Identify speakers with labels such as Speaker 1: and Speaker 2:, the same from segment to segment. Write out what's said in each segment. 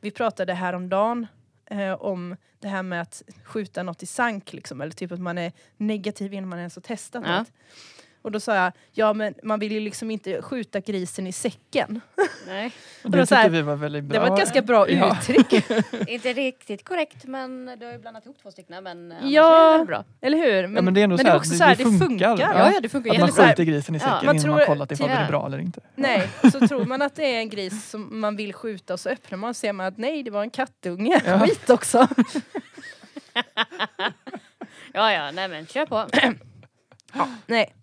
Speaker 1: vi pratade häromdagen eh, om det här med att skjuta något i sank, liksom, eller typ att man är negativ innan man ens har testat
Speaker 2: Ja.
Speaker 1: något. Och då sa jag, ja men man vill ju liksom inte skjuta grisen i säcken.
Speaker 2: Nej.
Speaker 3: Och
Speaker 1: då
Speaker 3: det
Speaker 1: så här,
Speaker 3: tycker vi var väldigt bra.
Speaker 1: Det var ett ganska bra
Speaker 3: Ja.
Speaker 1: uttryck,
Speaker 2: Inte riktigt korrekt men du har ju blandat ihop två stycken men eh, annars
Speaker 1: Ja.
Speaker 2: är det väl bra.
Speaker 1: eller hur? Men,
Speaker 3: men det är ändå så här,
Speaker 1: också
Speaker 3: det-
Speaker 1: så här, det
Speaker 3: det
Speaker 1: funkar.
Speaker 3: funkar.
Speaker 2: Ja,
Speaker 3: Ja.
Speaker 2: ja det funkar
Speaker 1: Att
Speaker 3: Att man
Speaker 1: så
Speaker 2: jättebra.
Speaker 1: här-
Speaker 3: skjuter grisen i
Speaker 2: Ja,
Speaker 3: säcken
Speaker 1: man
Speaker 3: innan
Speaker 1: tror-
Speaker 3: man kollat ifall den
Speaker 2: tyvärr.
Speaker 3: är bra eller inte.
Speaker 1: Nej, så tror man att det är en gris som man vill skjuta och så öppnar man och ser man att nej, det var en kattunge.
Speaker 3: Ja.
Speaker 1: Skit också.
Speaker 2: Ja, ja, nej men kör på.
Speaker 1: Nej,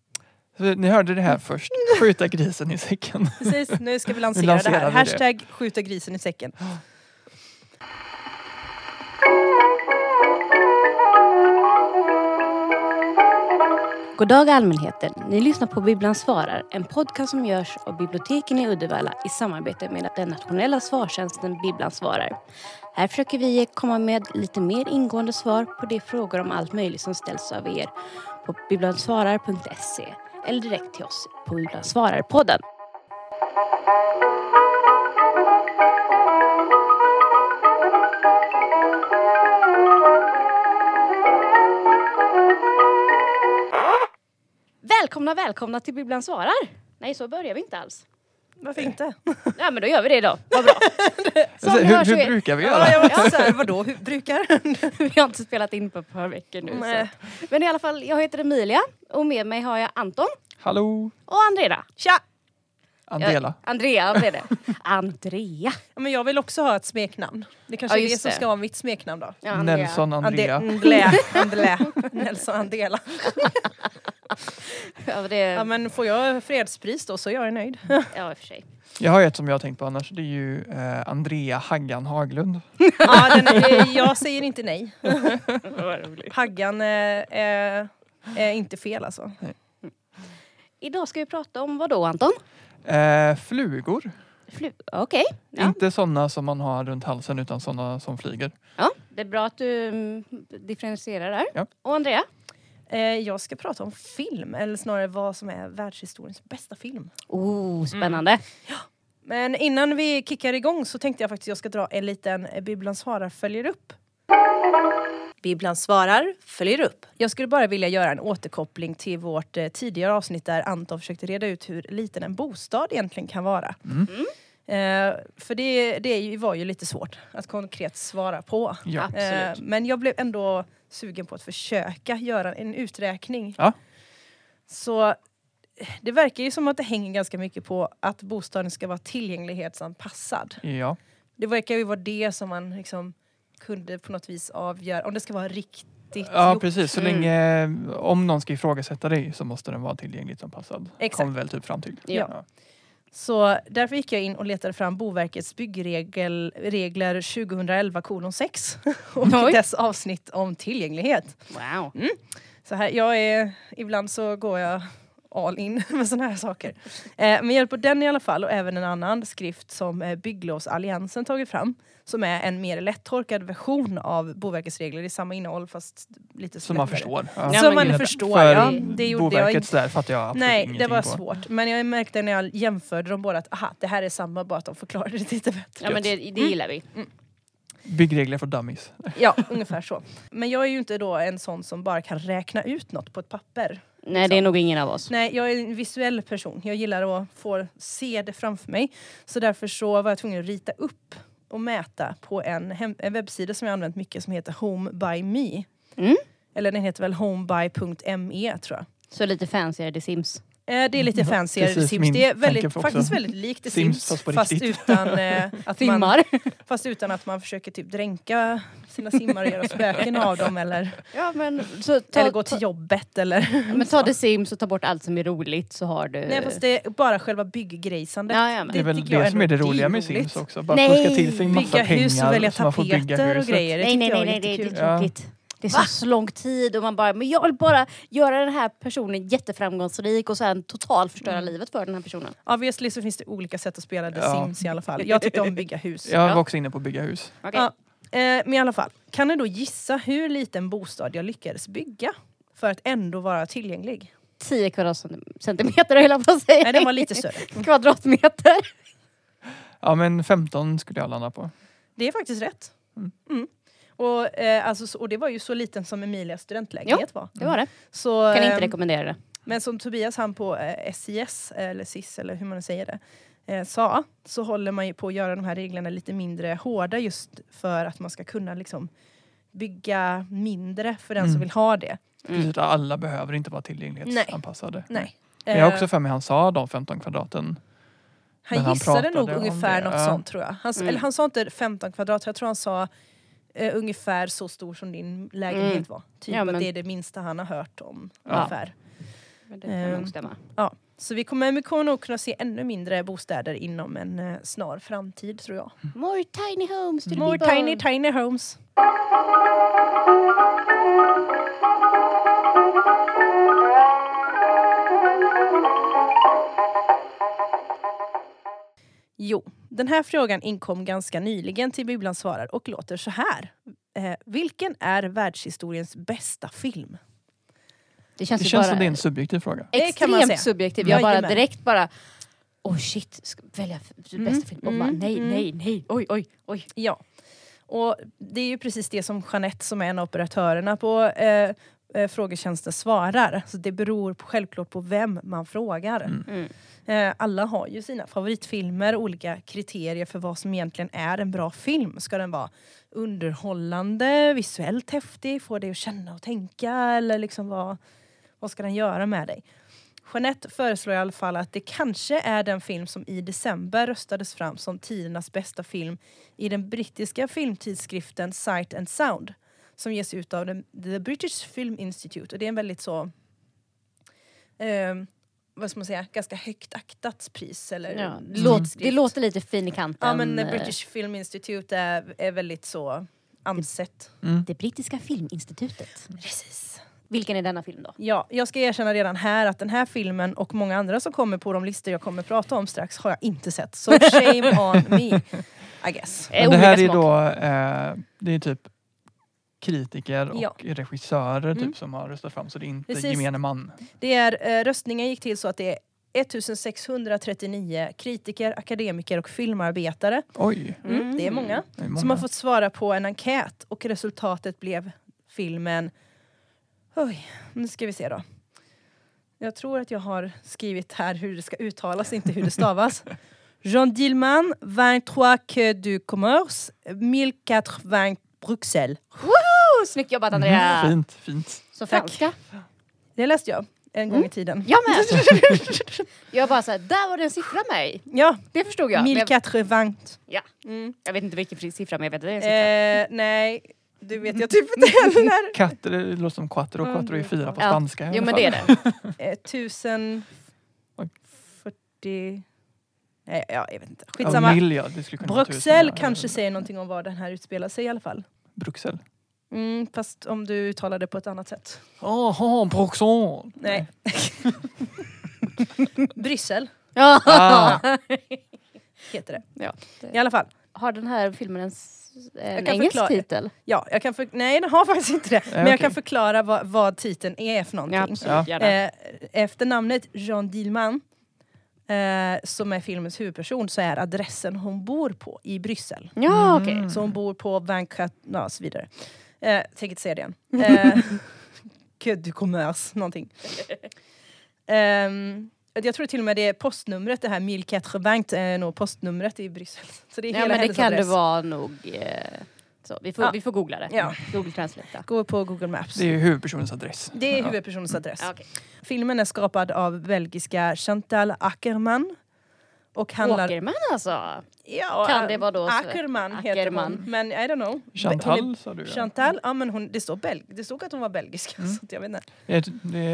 Speaker 3: Så ni hörde det här först.
Speaker 1: Mm.
Speaker 3: Skjuta grisen i säcken.
Speaker 1: precis. Nu ska vi lansera,
Speaker 3: Nu lanserar
Speaker 1: det här.
Speaker 3: vi det.
Speaker 1: Hashtag skjuta grisen i säcken.
Speaker 2: God dag allmänheten! Ni lyssnar på Bibblan svarar, en podcast som görs av biblioteken i Uddevalla i samarbete med den nationella svartjänsten Bibblan svarar. Här försöker vi komma med lite mer ingående svar på de frågor om allt möjligt som ställs av er på bibblansvarar.se eller direkt till oss på Bibblan svarar-podden. Välkomna, välkomna till Bibblan svarar! Nej, så börjar vi inte alls.
Speaker 3: Eh.
Speaker 1: Varför inte?
Speaker 2: Ja, men då gör vi det idag. Vad bra. Som ni hör
Speaker 3: hur,
Speaker 2: så
Speaker 3: hur
Speaker 2: är,
Speaker 3: brukar vi göra?
Speaker 1: Ja, jag var också såhär, vadå, hur brukar?
Speaker 2: vi har inte spelat in på ett par veckor nu. Så.
Speaker 1: Nej.
Speaker 2: Men i alla fall, jag heter Emilia och med mig har jag Anton
Speaker 3: Hallå!
Speaker 2: och Andrea.
Speaker 1: Tja!
Speaker 3: Andela.
Speaker 2: Andrea blev det. Andrea.
Speaker 1: Ja, Men jag vill också ha ett smeknamn. Det kanske
Speaker 2: Ja,
Speaker 1: är det
Speaker 2: just
Speaker 1: som
Speaker 2: det.
Speaker 1: ska vara mitt smeknamn då.
Speaker 2: Ja, Andrea.
Speaker 3: Nelson
Speaker 1: Ande-
Speaker 3: Andrea.
Speaker 1: Ndlä, Andlä, Nelson Andela.
Speaker 2: Ja, det,
Speaker 1: Ja,
Speaker 2: ja,
Speaker 1: men får jag fredspris då så är jag nöjd.
Speaker 2: ja, i och för sig.
Speaker 3: Jag har ett som jag har tänkt på annars. Det är ju eh, Andrea Haggan Haglund.
Speaker 1: Ja, den är, jag säger inte nej. Haggan eh, eh, är inte fel alltså.
Speaker 2: Idag ska vi prata om vad då Anton?
Speaker 3: Eh, flugor.
Speaker 2: Flu- Okej. Mm. Ja.
Speaker 3: Inte sådana som man har runt halsen utan sådana som flyger.
Speaker 2: ja, det är bra att du mm, differentierar där.
Speaker 3: Ja.
Speaker 2: Och Andrea?
Speaker 1: Eh, jag ska prata om film, eller snarare vad som är världshistoriens bästa film.
Speaker 2: Oh, spännande.
Speaker 1: Men innan vi kickar igång så tänkte jag faktiskt jag ska dra en liten eh, Bibblan svarar följer upp.
Speaker 4: Bibblan svarar, följer upp.
Speaker 1: Jag skulle bara vilja göra en återkoppling till vårt eh, tidigare avsnitt där Anton försökte reda ut hur liten en bostad egentligen kan vara. Eh, för det, det är ju- var ju lite svårt att konkret svara på.
Speaker 3: Ja.
Speaker 1: Eh, men jag blev ändå sugen på att försöka göra en uträkning.
Speaker 3: Ja.
Speaker 1: Så eh, det verkar ju som att det hänger ganska mycket på att bostaden ska vara tillgänglighetsanpassad.
Speaker 3: Ja.
Speaker 1: Det verkar ju vara det som man liksom kunde på något vis avgöra, om det ska vara riktigt
Speaker 3: ja,
Speaker 1: gjort.
Speaker 3: precis. Så
Speaker 2: Mm.
Speaker 3: länge, om någon ska ifrågasätta dig så måste den vara tillgängligt anpassad.
Speaker 1: Exakt.
Speaker 3: Kom väl typ fram till.
Speaker 2: Ja.
Speaker 1: Så därför gick jag in och letade fram Boverkets byggregler 2011 kolon 6 och
Speaker 2: Oj.
Speaker 1: dess avsnitt om tillgänglighet.
Speaker 2: Wow.
Speaker 1: Så här, jag är, ibland så går jag all in med såna här saker. Eh, med hjälp av den i alla fall och även en annan skrift som eh, Bygglovsalliansen tagit fram som är en mer lättorkad version av Boverkets regler i samma innehåll fast lite
Speaker 3: Som man
Speaker 1: lättare.
Speaker 3: förstår.
Speaker 2: Ja,
Speaker 1: Som
Speaker 2: men
Speaker 1: man
Speaker 2: gud.
Speaker 1: förstår,
Speaker 3: För
Speaker 1: ja. Det gjorde jag
Speaker 3: Boverkets
Speaker 1: inte.
Speaker 3: där fattar jag absolut
Speaker 1: Nej, det
Speaker 3: ingenting
Speaker 1: var
Speaker 3: på.
Speaker 1: svårt. Men jag märkte när jag jämförde dem båda att aha, det här är samma, bara att de förklarade det lite bättre.
Speaker 2: Ja, men det, det gillar vi.
Speaker 3: Byggregler för dummies.
Speaker 1: Ja, ungefär så. Men jag är ju inte då en sån som bara kan räkna ut något på ett papper.
Speaker 2: Nej, det är nog ingen av oss.
Speaker 1: Nej, jag är en visuell person. Jag gillar att få se det framför mig. Så därför så var jag tvungen att rita upp och mäta på en, hem- en webbsida som jag använt mycket som heter Home by Me.
Speaker 2: Mm.
Speaker 1: Eller den heter väl homeby.me tror jag.
Speaker 2: Så lite fancyare The Sims.
Speaker 1: Eh, Det är lite fancyare
Speaker 3: Mm. precis
Speaker 1: The Sims.
Speaker 3: min
Speaker 1: Det är
Speaker 3: tanke
Speaker 1: väldigt,
Speaker 3: också.
Speaker 1: faktiskt väldigt likt The
Speaker 3: Sims,
Speaker 1: Sims,
Speaker 3: fast på
Speaker 1: fast,
Speaker 3: riktigt.
Speaker 1: utan, eh, att man,
Speaker 2: Simmar.
Speaker 1: fast utan att man försöker typ dränka sina simmar och göra spöken av dem eller,
Speaker 2: Ja, men, så ta,
Speaker 1: eller gå till jobbet. Eller.
Speaker 2: men ta The Sims och ta bort allt som är roligt så har
Speaker 3: Eh.
Speaker 2: du...
Speaker 1: Nej fast det är bara själva byggrejsandet.
Speaker 2: Ja, ja, men.
Speaker 3: Det är väl
Speaker 1: tycker jag
Speaker 3: det som är det
Speaker 1: ändå
Speaker 3: roliga med
Speaker 1: roligt.
Speaker 3: Sims också. Bara
Speaker 2: Nej.
Speaker 3: fuska till sig en massa
Speaker 1: Bygga
Speaker 3: pengar
Speaker 1: hus och välja
Speaker 3: så man får bygga
Speaker 1: tapeter och
Speaker 3: huset.
Speaker 1: grejer. Det
Speaker 2: nej, nej,
Speaker 1: tyckte
Speaker 2: nej,
Speaker 1: jag var
Speaker 2: nej, det, det
Speaker 1: jättekul.
Speaker 2: är
Speaker 3: Ja.
Speaker 2: tråkigt. Det är så, så lång tid och man bara, men jag vill bara göra den här personen jätteframgångsrik och sen totalt förstöra livet för den här personen.
Speaker 1: Obviously så finns det olika sätt att spela The
Speaker 3: Ja.
Speaker 1: Sims i alla fall. Jag tyckte om bygga hus.
Speaker 3: Jag var också inne på att bygga hus.
Speaker 2: Okej.
Speaker 1: Ja, eh, men i alla fall, kan ni då gissa hur liten bostad jag lyckades bygga? För att ändå vara tillgänglig.
Speaker 2: 10 kvadratcentimeter höll jag på att säga.
Speaker 1: Nej, den var lite större.
Speaker 2: Kvadratmeter.
Speaker 3: Ja men 15 skulle jag landa på.
Speaker 1: Det är faktiskt rätt.
Speaker 3: Mm.
Speaker 1: Mm. Och, eh, alltså, så- och det var ju så liten som Emilias studentlägenhet var.
Speaker 2: Det var det.
Speaker 1: Så,
Speaker 2: Kan inte
Speaker 1: ehm,
Speaker 2: rekommendera det.
Speaker 1: Men som Tobias han på eh, SIS, eller SIS eller hur man säger det, eh, sa så håller man ju på att göra de här reglerna lite mindre hårda just för att man ska kunna liksom bygga mindre för den som
Speaker 3: Mm.
Speaker 1: vill ha det.
Speaker 2: Mm.
Speaker 3: Precis, alla behöver inte vara tillgänglighetsanpassade.
Speaker 1: Nej.
Speaker 3: Men jag har
Speaker 1: Eh,
Speaker 3: också för mig han sa de 15 kvadraten. men
Speaker 1: han
Speaker 3: han
Speaker 1: gissade
Speaker 3: pratade
Speaker 1: nog
Speaker 3: om
Speaker 1: ungefär
Speaker 3: det,
Speaker 1: något
Speaker 3: ja.
Speaker 1: sånt tror jag. Han, s-
Speaker 2: Mm.
Speaker 1: Eller han sa inte 15 kvadrat, jag tror han sa eh, ungefär så stor som din lägenhet
Speaker 2: Mm.
Speaker 1: var. Typ
Speaker 2: Ja, men-
Speaker 1: att det är det minsta han har hört om
Speaker 3: Ja.
Speaker 1: ungefär.
Speaker 2: Men det kan
Speaker 1: ehm,
Speaker 2: nog stämma.
Speaker 1: Ja. Så vi kommer, vi kommer nog kunna se ännu mindre bostäder inom en eh, snar framtid tror jag.
Speaker 2: More tiny homes to the
Speaker 1: More
Speaker 2: people.
Speaker 1: tiny, tiny homes. Jo, den här frågan inkom ganska nyligen till Bibblan svarar och låter så här. Eh, vilken är världshistoriens bästa film?
Speaker 2: det känns,
Speaker 3: Det
Speaker 2: ju
Speaker 3: känns
Speaker 2: bara
Speaker 3: som det är en subjektiv fråga.
Speaker 1: Det kan man
Speaker 2: extremt
Speaker 1: säga.
Speaker 2: subjektiv. Jag bara
Speaker 1: Jajamän.
Speaker 2: direkt bara... Oh shit, ska välja f- bästa
Speaker 1: Mm,
Speaker 2: film. Och bara,
Speaker 1: mm,
Speaker 2: nej,
Speaker 1: mm.
Speaker 2: nej, nej. Oj, oj, oj.
Speaker 1: Ja. Och det är ju precis det som Jeanette som är en av operatörerna på eh, eh, frågetjänsten svarar. Så det beror på, självklart på vem man frågar.
Speaker 2: Mm.
Speaker 1: Eh, alla har ju sina favoritfilmer, olika kriterier för vad som egentligen är en bra film. Ska den vara underhållande, visuellt häftig, få dig att känna och tänka eller liksom vad, vad ska den göra med dig? Jeanette föreslår i alla fall att det kanske är den film som i december röstades fram som tidernas bästa film i den brittiska filmtidskriften Sight and Sound som ges ut av den- The British Film Institute. Och det är en väldigt så... ehm, vad ska man säga? Ganska högt aktat pris. Eller
Speaker 2: Ja, Mm. det,
Speaker 1: tidskrift.
Speaker 2: låter, det låter lite fin i kanten.
Speaker 1: Ja, men eh,
Speaker 2: eh,
Speaker 1: British Film Institute är, är väldigt så ansett.
Speaker 3: Mm.
Speaker 2: Det brittiska filminstitutet.
Speaker 1: Precis.
Speaker 2: Vilken är denna film då?
Speaker 1: Ja, jag ska erkänna redan här att den här filmen och många andra som kommer på de listor jag kommer prata om strax har jag inte sett. Så shame on me, I guess.
Speaker 2: Eh,
Speaker 3: Men det här är
Speaker 2: olika smak.
Speaker 3: då eh, det är typ kritiker och
Speaker 1: Ja.
Speaker 3: regissörer typ,
Speaker 1: Mm.
Speaker 3: som har röstat fram så det är inte
Speaker 1: Precis.
Speaker 3: gemene man.
Speaker 1: Det är, eh, röstningen gick till så att det är 1639 kritiker, akademiker och filmarbetare.
Speaker 3: Oj,
Speaker 1: Mm,
Speaker 2: Mm.
Speaker 1: Det är många.
Speaker 3: det är många.
Speaker 1: Som har fått svara på en enkät och resultatet blev filmen... Oj, nu ska vi se då. Jag tror att jag har skrivit här hur det ska uttalas, inte hur det stavas. Jean Dillman, 23 que du commerce, 1080 Bruxelles.
Speaker 2: Oh, snyggt jobbat
Speaker 3: Mm,
Speaker 2: Andrea!
Speaker 3: Fint, fint.
Speaker 2: Så
Speaker 1: Tack.
Speaker 2: franska.
Speaker 1: Det läste jag en gång i tiden.
Speaker 2: Jag med! jag bara såhär, där var det en siffra mig.
Speaker 1: Ja,
Speaker 2: Det förstod jag. Men jag,
Speaker 1: 1080.
Speaker 2: Ja.
Speaker 1: Mm.
Speaker 2: jag vet inte vilken fri- siffra men jag vet att det är en siffra.
Speaker 1: Eh, nej, du vet jag typ inte heller. när-
Speaker 3: Katter, det låter som quattro,
Speaker 1: Ja,
Speaker 3: quattro är
Speaker 1: det-
Speaker 3: fyra på
Speaker 2: Ja.
Speaker 3: spanska. i alla
Speaker 2: jo men
Speaker 3: fall.
Speaker 2: det är det.
Speaker 1: Eh, 1040...
Speaker 3: Oj.
Speaker 1: Nej, ja, jag vet inte.
Speaker 3: Ja,
Speaker 1: Skitsamma.
Speaker 3: Mil, ja, det skulle kunna vara tusen,
Speaker 1: Bruxelles
Speaker 3: ja.
Speaker 1: kanske säger någonting om var den här utspelar sig i alla fall.
Speaker 3: Bruxelles.
Speaker 1: Mm, fast om du uttalar det på ett annat sätt.
Speaker 3: Jaha, Bruxelles!
Speaker 1: Nej. Bryssel
Speaker 2: Ja.
Speaker 3: Ah.
Speaker 1: heter det.
Speaker 2: Ja.
Speaker 1: I alla fall.
Speaker 2: Har den här filmen en, s- en
Speaker 1: kan
Speaker 2: engelsk
Speaker 1: förklara.
Speaker 2: titel?
Speaker 1: Ja, jag kan för... Nej, den har faktiskt inte det. Men jag
Speaker 3: okej.
Speaker 1: kan förklara vad, vad titeln är för någonting.
Speaker 3: Ja.
Speaker 2: gärna.
Speaker 1: Eh, efter namnet Jean Dillman, eh, som är filmens huvudperson, så är adressen hon bor på i Bryssel.
Speaker 2: Ja okej.
Speaker 1: Så hon bor på Vancat... Ja, och så vidare. Eh, tänker inte säga det igen. Eh, que du commerce, någonting. Ehm, jag tror till och med det är postnumret, det här Mille 80 är eh, nog postnumret i Bryssel. Så det är
Speaker 2: Ja
Speaker 1: hela
Speaker 2: men det
Speaker 1: hennes
Speaker 2: kan
Speaker 1: adress.
Speaker 2: det vara nog. Eh, så. Vi, får,
Speaker 1: Ja.
Speaker 2: vi får googla det.
Speaker 1: Ja.
Speaker 2: Google Translate. ja.
Speaker 1: Gå på Google Maps.
Speaker 3: Det är ju huvudpersonens adress.
Speaker 1: Det är huvudpersonens adress.
Speaker 2: Ja, okej.
Speaker 1: Filmen är skapad av belgiska Chantal Ackerman. Och handlar...
Speaker 2: Åkerman alltså.
Speaker 1: Ja,
Speaker 2: Kan det vara då så-
Speaker 1: Ackerman heter
Speaker 2: Ackerman.
Speaker 1: hon. Men I don't know. Hon
Speaker 3: Chantal
Speaker 1: är,
Speaker 3: sa du ja.
Speaker 1: Chantal, ja men hon, det, står belg, det stod att hon var belgisk.
Speaker 2: Mm.
Speaker 1: Så att jag vet inte.
Speaker 3: Det,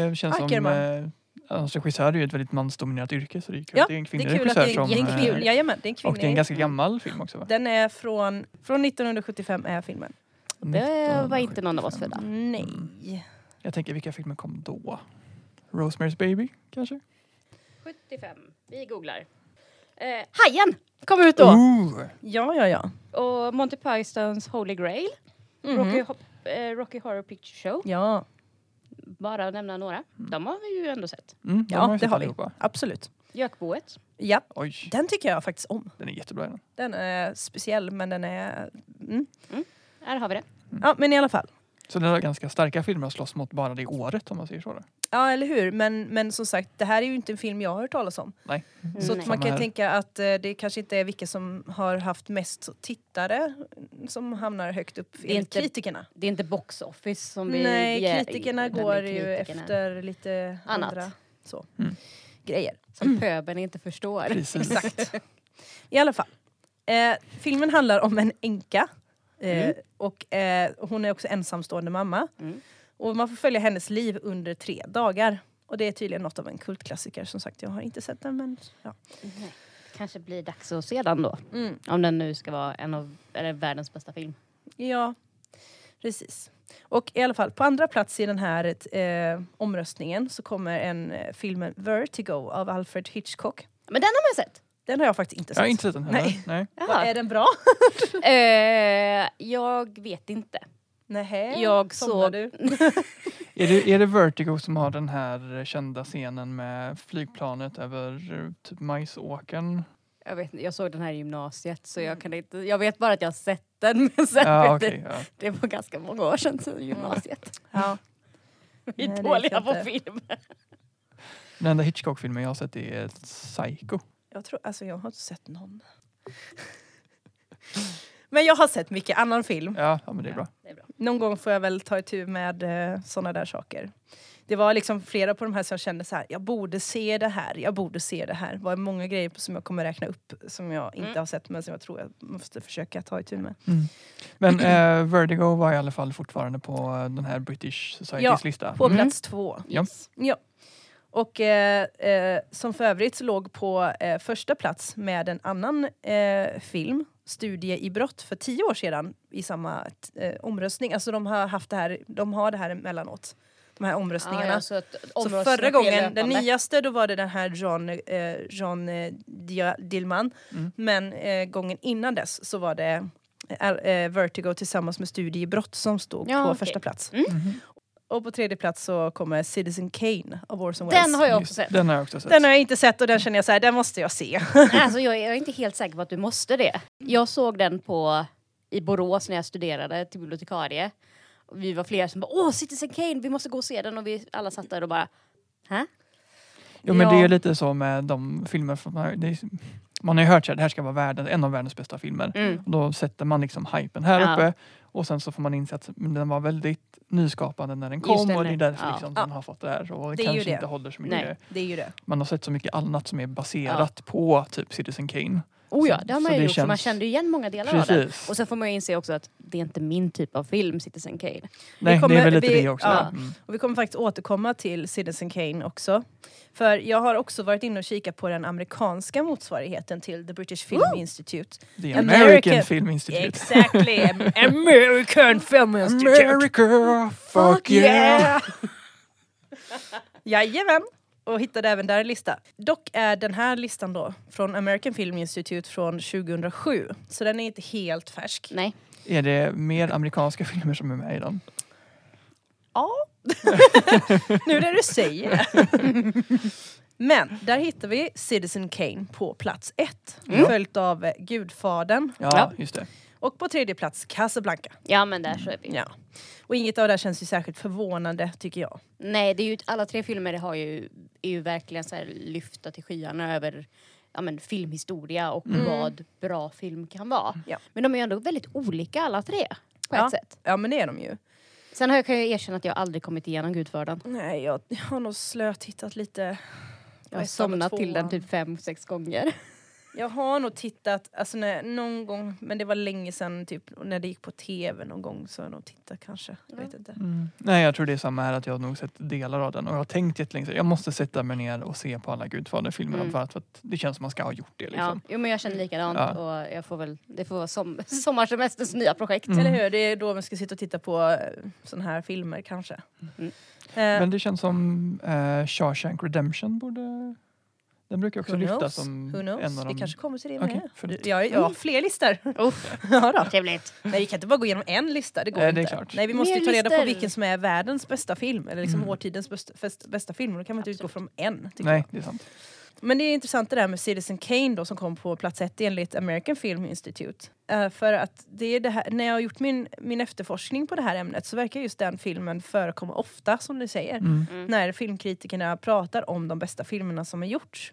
Speaker 3: det känns
Speaker 1: Ackerman.
Speaker 3: som... Eh, alltså, regissör är ju ett väldigt mansdominerat yrke så det är kul
Speaker 1: Ja,
Speaker 3: att det är en
Speaker 1: Det
Speaker 3: kvinnlig
Speaker 1: är kul att det
Speaker 3: regissör
Speaker 1: är,
Speaker 3: som...
Speaker 1: det är en
Speaker 3: eh,
Speaker 1: kvinna. Jajamän, det är en kvinna.
Speaker 3: Och det är en ganska gammal film också va?
Speaker 1: Den är från, från 1975 är filmen.
Speaker 2: Det var inte någon av oss födda.
Speaker 3: Mm.
Speaker 1: Nej.
Speaker 3: Jag tänker vilka filmer kom då? Rosemary's Baby kanske?
Speaker 2: 75. Vi googlar. Eh, Hajen kom ut
Speaker 1: Mm.
Speaker 2: då.
Speaker 3: Ooh. Mm,
Speaker 1: Ja, ja, ja.
Speaker 2: Och Monty Pythons Holy Grail.
Speaker 3: Mm-hmm.
Speaker 1: Mhm.
Speaker 2: Rocky, Hop- eh, Rocky Horror Picture Show.
Speaker 1: Ja,
Speaker 2: Bara att nämna några. De har vi ju ändå sett.
Speaker 3: Mm, de
Speaker 1: Ja,
Speaker 3: har jag
Speaker 1: det
Speaker 3: sett
Speaker 1: har vi.
Speaker 3: allihopa.
Speaker 1: absolut.
Speaker 2: Gökboet.
Speaker 1: Ja,
Speaker 3: Oj,
Speaker 1: den tycker jag faktiskt om.
Speaker 3: den är jättebra den.
Speaker 1: Den är speciell men den är... Mm.
Speaker 2: Här har vi det.
Speaker 1: Ja men i alla fall.
Speaker 3: Så det är ganska starka filmer att slåss mot bara det året om man säger så. Då.
Speaker 1: Ja eller hur, men, men som sagt det här är ju inte en film jag har hört talas om.
Speaker 3: Mm, Nej.
Speaker 1: Så
Speaker 2: Nej.
Speaker 1: att man
Speaker 3: Samma
Speaker 1: kan
Speaker 3: här.
Speaker 1: tänka att eh, det kanske inte är vilka som har haft mest tittare som hamnar högt upp,
Speaker 2: är
Speaker 1: enligt
Speaker 2: inte-
Speaker 1: kritikerna.
Speaker 2: Det är inte box office som vi...
Speaker 1: Nej,
Speaker 2: ger-
Speaker 1: kritikerna
Speaker 2: utan det är
Speaker 1: går ju
Speaker 2: kritikerna
Speaker 1: efter lite
Speaker 2: Annat.
Speaker 1: andra så.
Speaker 3: Mm.
Speaker 1: grejer.
Speaker 2: Som pöbeln inte förstår.
Speaker 3: Precis.
Speaker 1: Exakt. I alla fall. Eh, filmen handlar om en änka. Eh, Och eh, hon är också ensamstående mamma.
Speaker 2: Mm.
Speaker 1: Och man får följa hennes liv under tre dagar. Och det är tydligen något av en kultklassiker. Som sagt, jag har inte sett den men ja.
Speaker 2: Nej. Kanske blir dags att se den då.
Speaker 1: Mm.
Speaker 2: Om den nu ska vara en av eller världens bästa film.
Speaker 1: Ja, precis. Och i alla fall, på andra plats i den här eh, omröstningen så kommer en eh, filmen Vertigo av Alfred Hitchcock.
Speaker 2: Men den har man ju sett!
Speaker 1: Den har jag faktiskt inte sett.
Speaker 3: Jag har inte sett den heller.
Speaker 1: Nej.
Speaker 3: Nej.
Speaker 1: Vad, Är den bra?
Speaker 2: Eh, jag vet inte.
Speaker 1: Nej.
Speaker 2: Jag såg-
Speaker 1: Du?
Speaker 3: Är, det, är det Vertigo som har den här kända scenen med flygplanet över eh, typ majsåkern?
Speaker 2: Jag, vet, inte, jag såg den här i gymnasiet så
Speaker 1: Mm.
Speaker 2: jag kan inte... Jag vet bara att jag har sett den men sen
Speaker 3: Ja,
Speaker 2: vet
Speaker 3: okej.
Speaker 2: jag-
Speaker 3: ja.
Speaker 2: det var ganska många år sedan så gymnasiet.
Speaker 1: Ja.
Speaker 2: Vi
Speaker 1: Nej,
Speaker 2: är
Speaker 1: det vet
Speaker 2: dåliga
Speaker 1: jag
Speaker 2: på
Speaker 1: inte.
Speaker 2: film.
Speaker 3: Den enda Hitchcock-filmen jag har sett är Psycho.
Speaker 1: Jag tror, alltså jag har inte sett någon. Men jag har sett mycket annan film.
Speaker 3: Ja, ja men det är bra.
Speaker 2: Det är bra.
Speaker 1: Någon gång får jag väl ta itu med eh, såna där saker. Det var liksom flera på de här som jag kände så här, jag borde se det här, jag borde se det här. Det var många grejer som jag kommer räkna upp som jag inte
Speaker 2: Mm.
Speaker 1: har sett men som jag tror jag måste försöka ta itu med.
Speaker 3: Mm. Men eh, Vertigo var i alla fall fortfarande på eh, den här British Societys
Speaker 1: Ja,
Speaker 3: lista.
Speaker 1: På
Speaker 3: Mm.
Speaker 1: plats två.
Speaker 3: Ja.
Speaker 1: Ja. Och eh, eh, som för övrigt så låg på eh, första plats med en annan eh, film, Studie i brott, för tio år sedan i samma t- eh, omröstning. Alltså de har haft det här, de har det här emellanåt. De här omröstningarna.
Speaker 2: Ah, Ja, ja, så att
Speaker 1: Så
Speaker 2: omröstningen
Speaker 1: förra
Speaker 2: sker
Speaker 1: gången, den
Speaker 2: löpande.
Speaker 1: nyaste, då var det den här John, eh, John eh, Dia- Dillman.
Speaker 3: Mm.
Speaker 1: Men eh, gången innan dess så var det eh, eh, Vertigo tillsammans med Studie i brott som stod
Speaker 2: Ja,
Speaker 1: på
Speaker 2: okej.
Speaker 1: första plats.
Speaker 3: Mhm.
Speaker 1: Och på tredje plats så kommer Citizen Kane av Orson Welles.
Speaker 2: Den har jag också
Speaker 3: Just-
Speaker 2: sett.
Speaker 3: Den har jag också sett.
Speaker 1: Den har jag inte sett och den känner jag så här, den måste jag se.
Speaker 2: Alltså, jag är inte helt säker på att du måste det. Jag såg den på, i Borås när jag studerade till bibliotekarie. Och Vi var flera som bara “Åh, Citizen Kane, vi måste gå och se den” och vi alla satt där och bara “Hä?”
Speaker 3: Jo, men
Speaker 1: Ja.
Speaker 3: det är ju lite så med de filmer från... det är- Man har ju hört att det här ska vara världen, en av världens bästa filmer.
Speaker 2: Mm.
Speaker 3: Och Då sätter man liksom hypen här
Speaker 2: Ja.
Speaker 3: uppe och sen så får man inse att men den var väldigt nyskapande när den
Speaker 2: Just
Speaker 3: kom
Speaker 2: det,
Speaker 3: och det
Speaker 2: när-
Speaker 3: är därför
Speaker 2: ja.
Speaker 3: liksom
Speaker 1: Ja.
Speaker 3: den har fått det här och
Speaker 1: Det är ju
Speaker 3: kanske
Speaker 1: det.
Speaker 3: inte håller så mycket.
Speaker 2: Nej.
Speaker 1: Det är ju det.
Speaker 3: Man har sett så mycket annat som är baserat på typ Citizen Kane.
Speaker 2: Oh ja,
Speaker 3: Så-
Speaker 2: det har
Speaker 3: så
Speaker 2: man ju
Speaker 3: det
Speaker 2: gjort. så Man
Speaker 3: känns-
Speaker 2: kände ju igen många delar av den.
Speaker 3: Precis.
Speaker 2: Och sen får man ju inse också att det är inte min typ av film, Citizen Kane.
Speaker 3: Nej, det
Speaker 1: kommer-
Speaker 3: är väl lite
Speaker 1: vi-
Speaker 3: det också.
Speaker 1: ja.
Speaker 3: Mm.
Speaker 1: Och vi kommer faktiskt återkomma till Citizen Kane också. För jag har också varit inne och kikat på den amerikanska motsvarigheten till The British Film Institute.
Speaker 3: The
Speaker 1: American-
Speaker 3: American, Film Institute.
Speaker 1: Exactly! American Film Institute!
Speaker 3: America, fuck yeah!
Speaker 1: Jajamän! Och hittade även där en lista. Dock är den här listan då från American Film Institute från 2007. Så den är inte helt färsk.
Speaker 2: Nej.
Speaker 3: Är det mer amerikanska filmer som är med i den?
Speaker 1: Ja. nu när du säger det. Men där hittar vi Citizen Kane på plats ett. Följt av eh, Gudfadern.
Speaker 3: Mm. Ja,
Speaker 2: Ja.
Speaker 3: just det.
Speaker 1: Och på tredje plats Casablanca.
Speaker 2: Ja men där så är vi.
Speaker 1: Ja. Och inget av det här känns ju särskilt förvånande tycker jag.
Speaker 2: Nej, det är ju, alla tre filmer har ju, är ju verkligen så här lyfta till skyarna över ja, men, filmhistoria och vad bra film kan vara.
Speaker 1: Ja.
Speaker 2: Men de är ju ändå väldigt olika alla tre. På
Speaker 1: Ja.
Speaker 2: ett sätt.
Speaker 1: Ja men det är de ju.
Speaker 2: Sen har jag, kan jag erkänna att jag aldrig kommit igenom Gudfadern.
Speaker 1: Nej jag jag har nog slöt hittat lite.
Speaker 2: Jag
Speaker 1: Ettan
Speaker 2: har
Speaker 1: och
Speaker 2: somnat till den
Speaker 1: tvåan.
Speaker 2: typ fem, sex gånger.
Speaker 1: Jag har nog tittat, alltså när, någon gång, men det var länge sedan typ när det gick på tv någon gång så har jag nog tittat kanske. Jag vet inte.
Speaker 3: Mm. Nej, jag tror det är samma här att jag har nog sett delar av den och jag har tänkt jättelänge så jag måste sätta mig ner och se på alla Gudfader-filmerna
Speaker 2: Mm.
Speaker 3: för, att, för att det känns som man ska ha gjort det.
Speaker 2: Ja.
Speaker 3: Liksom.
Speaker 2: Jo men jag känner likadant
Speaker 3: Ja.
Speaker 2: och jag får väl, det får vara som, sommarsemesterns nya projekt.
Speaker 3: Mm.
Speaker 1: Eller hur? Det är då vi ska sitta och titta på eh, såna här filmer kanske.
Speaker 2: Mm.
Speaker 1: Eh,
Speaker 3: Men det känns som eh, Shawshank Redemption borde... Den brukar också
Speaker 1: who
Speaker 3: lyftas
Speaker 1: knows?
Speaker 3: som
Speaker 1: Who
Speaker 3: en av
Speaker 1: knows?
Speaker 3: de...
Speaker 1: Vi kanske kommer till det
Speaker 3: Okej, Mm.
Speaker 1: med.
Speaker 3: förlåt.
Speaker 1: Jag, jag har fler listor.
Speaker 2: Uff,
Speaker 1: ja, då.
Speaker 2: trevligt.
Speaker 1: Nej, vi kan inte bara gå igenom en lista, det går
Speaker 3: Nej,
Speaker 1: inte.
Speaker 3: det är klart.
Speaker 1: Nej, vi måste ju
Speaker 2: Mer
Speaker 1: ta reda på
Speaker 2: listor.
Speaker 1: vilken som är världens bästa film, eller liksom
Speaker 3: Mm.
Speaker 1: årtidens bästa, bästa film. Då kan man inte utgå från en. tycker
Speaker 3: Nej, det är sant.
Speaker 1: jag. Men det är intressant det där med Citizen Kane då som kom på plats ett enligt American Film Institute. Eh, för att det är det här, när jag har gjort min, min efterforskning på det här ämnet så verkar just den filmen förekomma ofta som du säger.
Speaker 3: Mm.
Speaker 1: När filmkritikerna pratar om de bästa filmerna som har gjorts.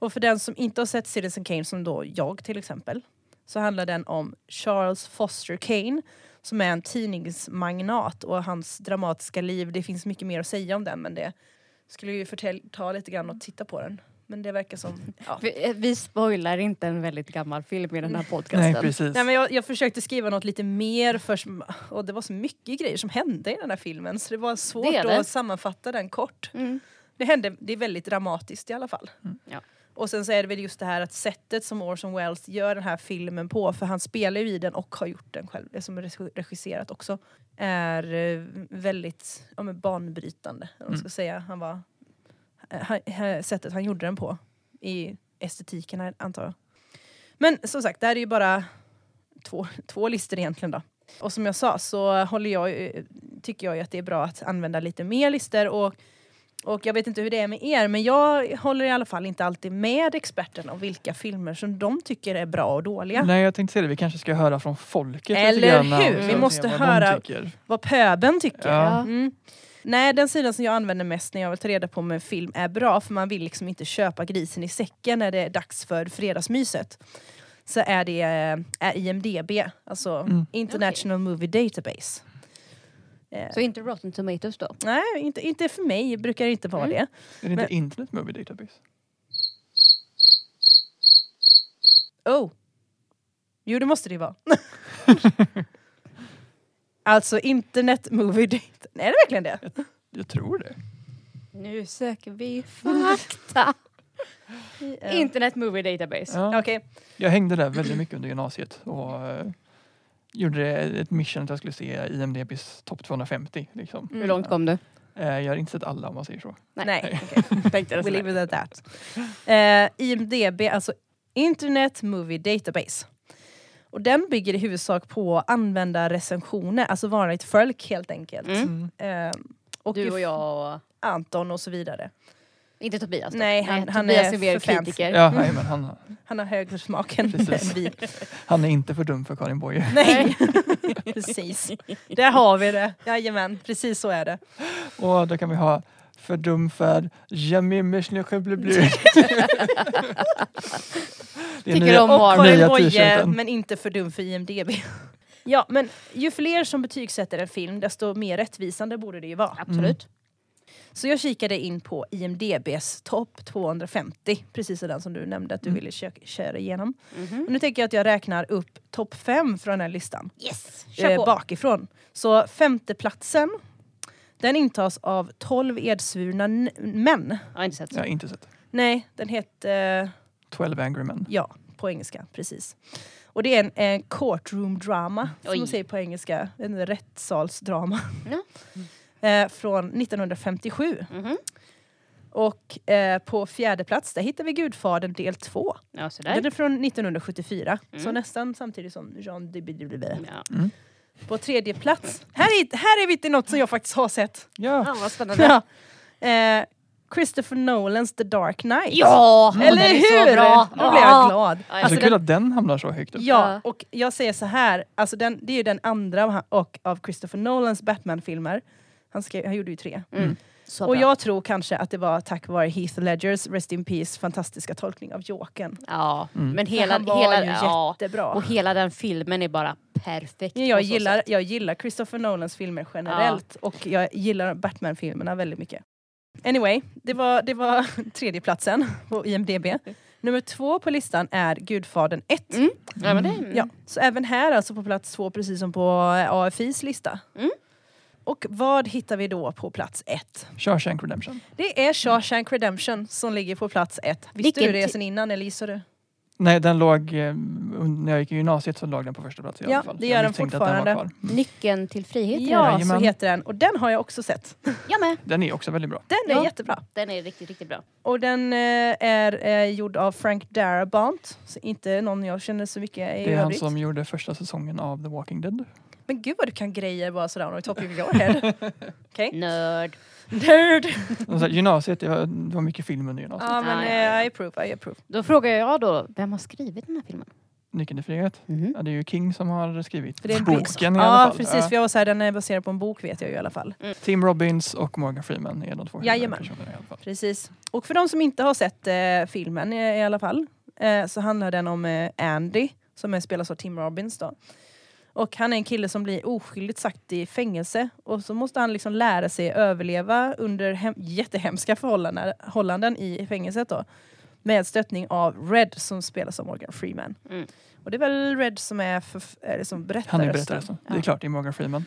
Speaker 1: Och för den som inte har sett Citizen Kane, som då jag till exempel, så handlar den om Charles Foster Kane som är en tidningsmagnat och hans dramatiska liv. Det finns mycket mer att säga om den men det skulle ju förtälja lite grann och titta på den. Men det verkar som... Ja.
Speaker 2: Vi, eh, vi spoilar inte en väldigt gammal film i den här podcasten.
Speaker 3: Nej, precis.
Speaker 1: Nej, men jag, jag försökte skriva något lite mer först och det var så mycket grejer som hände i den här filmen så det var svårt
Speaker 2: Det är det.
Speaker 1: att sammanfatta den kort.
Speaker 2: Mm.
Speaker 1: Det hände, det är väldigt dramatiskt i alla fall.
Speaker 2: Ja.
Speaker 1: Och sen så är det väl just det här att sättet som Orson Welles gör den här filmen på, för han spelar ju i den och har gjort den själv, det som är regi- regisserat också, är eh, väldigt ja, men banbrytande. Om man ska säga. Han var, eh, han, eh, sättet han gjorde den på, i estetiken här, antar jag. Men som sagt, det här är ju bara två, två listor egentligen då. Och som jag sa så håller jag, ju- tycker jag ju att det är bra att använda lite mer listor och och jag vet inte hur det är med er, men jag håller i alla fall inte alltid med experterna om vilka filmer som de tycker är bra och dåliga.
Speaker 3: Nej, jag tänkte säga det. Vi kanske ska höra från folket lite
Speaker 1: Eller
Speaker 3: grann.
Speaker 1: hur?
Speaker 3: och
Speaker 1: Vi
Speaker 3: se
Speaker 1: måste
Speaker 3: vad de
Speaker 1: höra-
Speaker 3: tycker.
Speaker 1: Vad pöben tycker.
Speaker 3: Ja.
Speaker 1: Mm. Nej, den sidan som jag använder mest när jag vill ta reda på om en film är bra, för man vill liksom inte köpa grisen i säcken när det är dags för fredagsmyset. Så är det eh, är IMDB, alltså
Speaker 3: Mm.
Speaker 1: International Movie Database. Eh,
Speaker 2: Så inte Rotten Tomatoes då?
Speaker 1: nej, inte, inte för mig, brukar det inte vara
Speaker 2: Mm.
Speaker 1: det.
Speaker 3: Är det inte Internet Movie Database?
Speaker 1: Oh. Jo, det måste det ju vara. alltså internet movie date. Nej, Är det verkligen det?
Speaker 3: Jag tror det.
Speaker 2: Nu söker vi fakta.
Speaker 1: Eh,
Speaker 2: Internet Movie Database.
Speaker 3: Ja.
Speaker 1: Okej.
Speaker 3: Jag hängde där väldigt mycket under gymnasiet och eh, gjorde ett mission att jag skulle se IMDBs topp 250. Liksom.
Speaker 2: Hur långt kom du?
Speaker 3: Eh, jag har inte sett alla om man säger så.
Speaker 2: Mm. Nej.
Speaker 1: Nej. okej.
Speaker 2: Tänkte jag
Speaker 1: We
Speaker 2: sådär.
Speaker 1: leave it at that. Eh, IMDB, alltså Internet Movie Database. Och den bygger i huvudsak på användarrecensioner, alltså vanligt folk helt enkelt.
Speaker 2: Mm.
Speaker 1: Eh, och
Speaker 2: Du
Speaker 1: ju
Speaker 2: och jag och...
Speaker 1: Anton och så vidare.
Speaker 2: Inte Tobias då?
Speaker 1: Nej, han- han
Speaker 2: Tobias
Speaker 1: är
Speaker 2: mer
Speaker 1: för fancy.
Speaker 2: kritiker.
Speaker 3: Ja, nej, men han,
Speaker 1: Han har högre smak än
Speaker 3: Precis.
Speaker 1: än vi.
Speaker 3: han är inte för dum för Karin Boye.
Speaker 1: Nej, precis. Där har vi det. Jajamän, precis så är det.
Speaker 3: Och då kan vi ha för dum för Jamie Meshnekhebleblu.
Speaker 2: Tycker om
Speaker 1: Och
Speaker 2: Harvard.
Speaker 1: Karin
Speaker 3: nya
Speaker 1: Boye,
Speaker 3: t-shirten.
Speaker 1: men inte för dum för IMDB. Ja, men ju fler som betygsätter en film, desto mer rättvisande borde det ju vara.
Speaker 2: Absolut.
Speaker 1: Så jag kikade in på IMDBs topp 250, precis den som du nämnde
Speaker 2: Mm.
Speaker 1: att du ville kö- köra igenom.
Speaker 2: Mm-hmm.
Speaker 1: Och nu tänker jag att jag räknar upp topp 5 från den här listan.
Speaker 2: Yes!
Speaker 1: eh,
Speaker 2: Kör på!
Speaker 1: bakifrån. Så femteplatsen, den intas av 12 edsvurna n- män.
Speaker 2: Jag har inte sett
Speaker 3: Jag
Speaker 2: så.
Speaker 3: har inte sett.
Speaker 1: Nej, den hette...
Speaker 3: 12 Angry Men.
Speaker 1: Ja, på engelska. Precis. Och det är en, en courtroom drama, som
Speaker 2: Oj.
Speaker 1: man säger på engelska. En rättssalsdrama.
Speaker 2: Ja.
Speaker 1: Eh, från 1957.
Speaker 2: Mhm.
Speaker 1: Och eh, på fjärde plats, där hittar vi Gudfadern del 2.
Speaker 2: Ja, sådär.
Speaker 1: Den är från 1974. Så
Speaker 2: Mm.
Speaker 1: nästan samtidigt som Jean de Bidoulivet.
Speaker 2: Ja.
Speaker 1: På tredje plats, här är, här är vi till något som jag faktiskt har sett.
Speaker 3: Ja,
Speaker 2: Fan vad spännande.
Speaker 1: Ja. Eh, Christopher Nolans The Dark Knight.
Speaker 2: Ja! Mm,
Speaker 1: Eller
Speaker 2: den är
Speaker 1: hur?
Speaker 2: Så bra.
Speaker 1: Nu blev jag glad.
Speaker 2: Ja, ja.
Speaker 3: alltså,
Speaker 1: Alltså,
Speaker 3: så kul
Speaker 1: den-
Speaker 3: att den hamnar så högt upp.
Speaker 1: Ja,
Speaker 2: Ja.
Speaker 1: och jag säger så här, alltså den, det är ju den andra av han- och av Christopher Nolans Batman-filmer. Han, skrev, han gjorde ju tre.
Speaker 2: Mm. Så
Speaker 1: och
Speaker 2: bra.
Speaker 1: jag tror kanske att det var tack vare Heath Ledgers Rest In Peace fantastiska tolkning av Jokern.
Speaker 2: Ja,
Speaker 3: Mm.
Speaker 2: men
Speaker 1: För
Speaker 2: hela,
Speaker 1: han var
Speaker 2: hela,
Speaker 1: ju
Speaker 2: ja.
Speaker 1: jättebra.
Speaker 2: Och hela den filmen är bara perfekt.
Speaker 1: Ja,
Speaker 2: på
Speaker 1: jag,
Speaker 2: så
Speaker 1: gillar,
Speaker 2: sätt.
Speaker 1: jag gillar Christopher Nolans filmer generellt och jag gillar Batman-filmerna väldigt mycket. Anyway, det var, det var tredjeplatsen på IMDB. Nummer två på listan är Gudfadern 1.
Speaker 2: Mm. Ja, men det,
Speaker 1: Ja, så även här alltså på plats två precis som på eh, AFIs lista.
Speaker 2: Mm.
Speaker 1: Och vad hittar vi då på plats ett?
Speaker 3: Shawshank Redemption.
Speaker 1: Det är Shawshank Redemption som ligger på plats ett. Visste
Speaker 2: Vilken
Speaker 1: du det
Speaker 2: ti-
Speaker 1: sen innan eller gissar du?
Speaker 3: Nej, den låg, eh, un- när jag gick i gymnasiet så låg den på första plats i
Speaker 1: Ja,
Speaker 3: alla fall.
Speaker 1: det
Speaker 3: Jag
Speaker 1: gör den
Speaker 3: misstänkte
Speaker 1: fortfarande. Mm.
Speaker 3: Att den, var kvar.
Speaker 2: Nyckeln till frihet heter
Speaker 1: Ja, så
Speaker 3: Jajamän.
Speaker 1: heter den. Och den har jag också sett.
Speaker 2: den. Jag med.
Speaker 3: den är också väldigt bra.
Speaker 1: Den är
Speaker 2: Ja.
Speaker 1: jättebra.
Speaker 2: Den är riktigt, riktigt bra.
Speaker 1: Och den eh, är eh, gjord av Frank Darabont. Så inte någon jag känner så mycket i
Speaker 3: Det är han
Speaker 1: övrigt.
Speaker 3: som gjorde första säsongen av The Walking Dead.
Speaker 1: Men gud vad du kan grejer bara sådär on top of your head. Okej.
Speaker 2: Nörd.
Speaker 1: Nerd!
Speaker 3: Och så här, gymnasiet, det var, det var mycket film under gymnasiet.
Speaker 1: Ja men
Speaker 2: Ja, ja, ja.
Speaker 1: eh, I approve, I approve.
Speaker 2: Då frågar jag då, vem har skrivit den här filmen?
Speaker 3: Nyckeln till frihet. Ja, det är ju King som har skrivit
Speaker 1: För det är en bok.
Speaker 3: boken i alla
Speaker 1: Ja
Speaker 3: fall.
Speaker 1: precis,
Speaker 3: Ja.
Speaker 1: för jag var såhär, den är baserad på en bok vet jag ju i alla fall.
Speaker 3: Tim Robbins och Morgan Freeman är de två
Speaker 1: Jajamän.
Speaker 3: huvudpersonerna i alla fall.
Speaker 1: Precis. Och för de som inte har sett eh, filmen i, i alla fall eh, så handlar den om eh, Andy som är spelas av Tim Robbins då. Och han är en kille som blir oskyldigt sagt i fängelse och så måste han liksom lära sig överleva under hem- jättehemska förhållanden förhållanden i fängelset då. Med stöttning av Red som spelas av Morgan Freeman.
Speaker 2: Mm.
Speaker 1: Och det är väl Red som är, förf- är liksom berättarrösten.
Speaker 3: Han är alltså. berättarrösten. Det är klart, det är Morgan Freeman.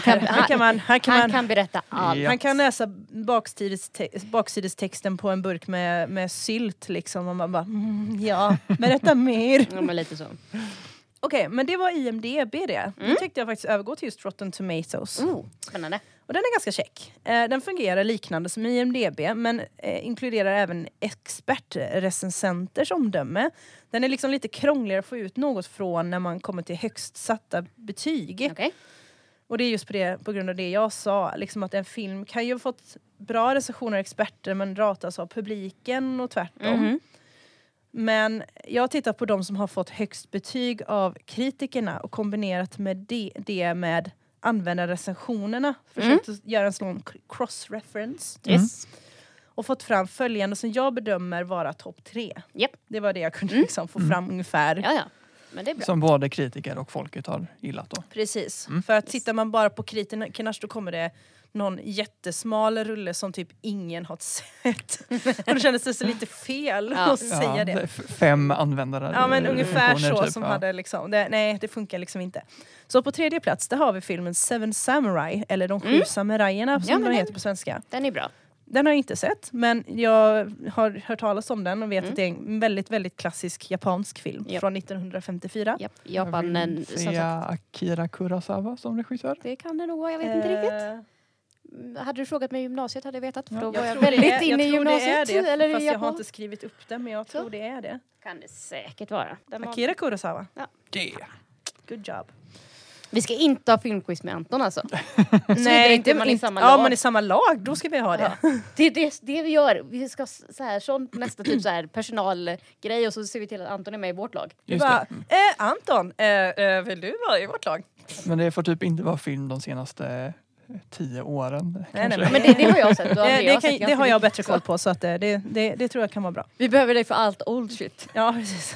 Speaker 2: kan,
Speaker 1: Här kan man, här kan man,
Speaker 2: berätta allt.
Speaker 3: Ja.
Speaker 1: han kan läsa baksideste- baksidestexten på en burk med, med sylt liksom och man bara mm, ja, berätta mer.
Speaker 2: Ja, men lite så.
Speaker 1: Okej, men det var IMDB det. Nu tänkte jag faktiskt övergå till just Rotten Tomatoes.
Speaker 2: Oh, spännande.
Speaker 1: Och den är ganska check. Eh, den fungerar liknande som IMDB men eh, inkluderar även expertrecensenters omdöme. Den är liksom lite krångligare att få ut något från när man kommer till högst satta betyg.
Speaker 2: Okej.
Speaker 1: Och det är just på, det, på grund av det jag sa, liksom att en film kan ju ha fått bra recensioner av experter men ratas av publiken och tvärtom.
Speaker 2: Mm.
Speaker 1: Men jag tittar på de som har fått högst betyg av kritikerna och kombinerat med det, det med användarrecensionerna, försökt att göra en sån cross-reference
Speaker 2: Yes.
Speaker 1: Mm. och fått fram följande som jag bedömer vara topp tre.
Speaker 2: Japp.
Speaker 1: Det var det jag kunde liksom få fram ungefär.
Speaker 2: Ja, ja. Men det är bra.
Speaker 3: Som både kritiker och folket har gillat då.
Speaker 1: Precis.
Speaker 3: Mm.
Speaker 1: För att tittar man bara på kritikerna då kommer det någon jättesmal rulle som typ ingen har sett. och då kändes det så lite fel
Speaker 2: Ja.
Speaker 1: att säga
Speaker 3: Ja,
Speaker 1: det.
Speaker 3: f- Fem användare.
Speaker 1: Ja men
Speaker 3: eh,
Speaker 1: ungefär
Speaker 3: funktioner
Speaker 1: så
Speaker 3: typ,
Speaker 1: som
Speaker 3: ja.
Speaker 1: hade liksom, det, nej det funkar liksom inte. Så på tredje plats där har vi filmen Seven Samurai, eller De sju samurajerna som
Speaker 2: Mm. Ja, men
Speaker 1: den
Speaker 2: den-
Speaker 1: heter på svenska.
Speaker 2: Den är bra.
Speaker 1: Den har jag inte sett men jag har hört talas om den och
Speaker 2: Mm.
Speaker 1: vet att det är en väldigt väldigt klassisk japansk film
Speaker 2: Japp.
Speaker 1: från 1954.
Speaker 2: Japp.
Speaker 3: Jag
Speaker 2: Japan,
Speaker 3: vill
Speaker 2: en, som
Speaker 3: se
Speaker 2: sagt,
Speaker 3: Akira Kurosawa som regissör.
Speaker 2: det kan det nog vara. Jag vet inte riktigt.
Speaker 1: Eh,
Speaker 2: Hade du frågat mig i gymnasiet hade jag vetat. För då
Speaker 3: Ja.
Speaker 2: var jag,
Speaker 1: tror det
Speaker 2: väldigt
Speaker 1: är-
Speaker 2: inne i
Speaker 1: tror det är
Speaker 2: gymnasiet.
Speaker 1: Det,
Speaker 2: eller
Speaker 1: fast
Speaker 2: i
Speaker 1: jag har
Speaker 2: Japan.
Speaker 1: inte skrivit upp det, men jag
Speaker 2: Så.
Speaker 1: tror det är det.
Speaker 2: Kan det säkert vara. Den var-
Speaker 1: Akira Kurosawa.
Speaker 3: Yeah.
Speaker 1: Good job.
Speaker 2: Vi ska inte ha filmquiz med Anton alltså.
Speaker 1: Nej,
Speaker 2: inte man är i samma
Speaker 1: Ja,
Speaker 2: lag.
Speaker 1: man är i samma lag. Då ska vi ha det.
Speaker 2: Det är det, det vi gör. Vi ska s- så här, sån, nästa typ så här, personalgrej och så ser vi till att Anton är med i vårt lag.
Speaker 1: Du
Speaker 3: Just
Speaker 1: bara,
Speaker 3: det.
Speaker 2: Mm.
Speaker 1: eh, Anton, eh, eh, vill du vara i vårt lag?
Speaker 3: Men det får typ inte vara film de senaste eh, tio åren.
Speaker 1: nej,
Speaker 3: kanske.
Speaker 1: men-
Speaker 2: Men det, det har jag sett. Då har
Speaker 1: Eh,
Speaker 2: jag
Speaker 1: det,
Speaker 2: sett
Speaker 1: kan, det
Speaker 2: ganska
Speaker 1: har jag
Speaker 2: mycket.
Speaker 1: bättre koll på, så att, eh, det, det, det tror jag kan vara bra.
Speaker 2: Vi behöver dig för allt old shit.
Speaker 1: Ja, precis.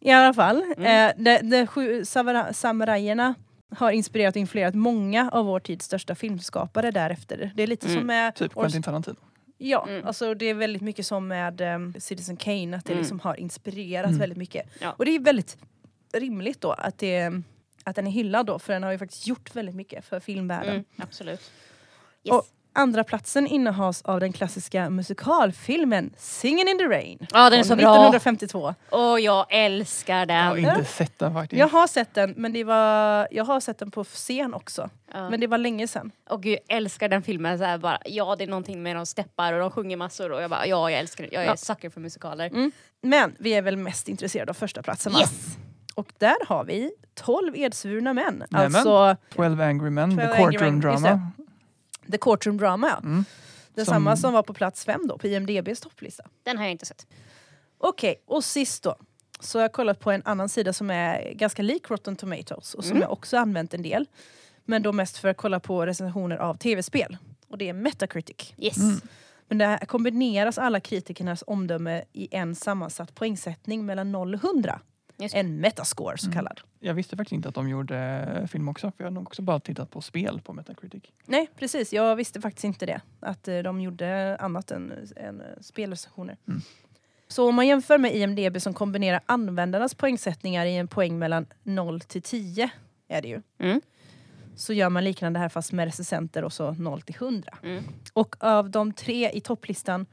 Speaker 1: I alla fall,
Speaker 2: Mm.
Speaker 1: eh, de, de sju samura- samurajerna har inspirerat och influerat många av vår tids största filmskapare därefter. Det är
Speaker 2: Mm.
Speaker 1: lite som med
Speaker 3: Typ
Speaker 1: Ors-
Speaker 3: Quentin Tarantino.
Speaker 1: Ja, alltså det är väldigt mycket som med ehm, Citizen Kane, att det liksom har inspirerat väldigt mycket.
Speaker 2: Mm. Ja.
Speaker 1: Och det är väldigt rimligt då att, det, att den är hyllad då, för den har ju faktiskt gjort väldigt mycket för filmvärlden.
Speaker 2: Mm, absolut. Yes.
Speaker 1: Och andra platsen innehas av den klassiska musikalfilmen Singin' in the Rain.
Speaker 2: Ja, den är
Speaker 1: från
Speaker 2: så bra.
Speaker 1: 1952.
Speaker 2: och jag älskar
Speaker 3: Jag har
Speaker 2: den.
Speaker 3: inte sett den faktiskt.
Speaker 1: Jag har sett den, men det var, jag har sett den på scen också.
Speaker 2: Ja.
Speaker 1: Men det var länge sedan.
Speaker 2: Och gud, jag älskar den filmen. Så här, bara, ja, det är någonting med de steppar och de sjunger massor. Och jag bara, ja, jag älskar det. Jag är
Speaker 1: Ja. Mm.
Speaker 2: sucker för musikaler.
Speaker 1: Men vi är väl mest intresserade av första platsen va?
Speaker 2: Mm. Yes!
Speaker 1: Och där har vi 12 edsvurna män.
Speaker 3: Nämen.
Speaker 1: Alltså
Speaker 3: 12 Angry
Speaker 1: 12
Speaker 3: Men, The
Speaker 1: Angry
Speaker 3: Courtroom
Speaker 1: Men, just
Speaker 3: Drama.
Speaker 1: The Courtroom Drama ja.
Speaker 3: Mm.
Speaker 1: Detsamma
Speaker 3: Som-
Speaker 1: som var på plats fem då på IMDBs topplista.
Speaker 2: Den har jag inte sett.
Speaker 1: Okej, och sist då. Så jag har kollat på en annan sida som är ganska lik Rotten Tomatoes och som
Speaker 2: Mm.
Speaker 1: jag också använt en del. Men då mest för att kolla på recensioner av tv-spel. Och det är Metacritic.
Speaker 2: Yes.
Speaker 1: Men där kombineras alla kritikernas omdöme i en sammansatt poängsättning mellan 0 och 100.
Speaker 2: Just det. Mm.
Speaker 1: En metascore så kallad.
Speaker 3: Jag visste faktiskt inte att de gjorde eh, film också. För jag har nog också bara tittat på spel på Metacritic.
Speaker 1: Nej precis, jag visste faktiskt inte det. Att eh, de gjorde annat än, än eh, spelrecensioner. Så om man jämför med IMDB som kombinerar användarnas poängsättningar i en poäng mellan 0 till 10 är det ju.
Speaker 2: Mm.
Speaker 1: Så gör man liknande här fast med recensenter och så 0 till 100.
Speaker 2: Mm.
Speaker 1: Och av de tre i topplistan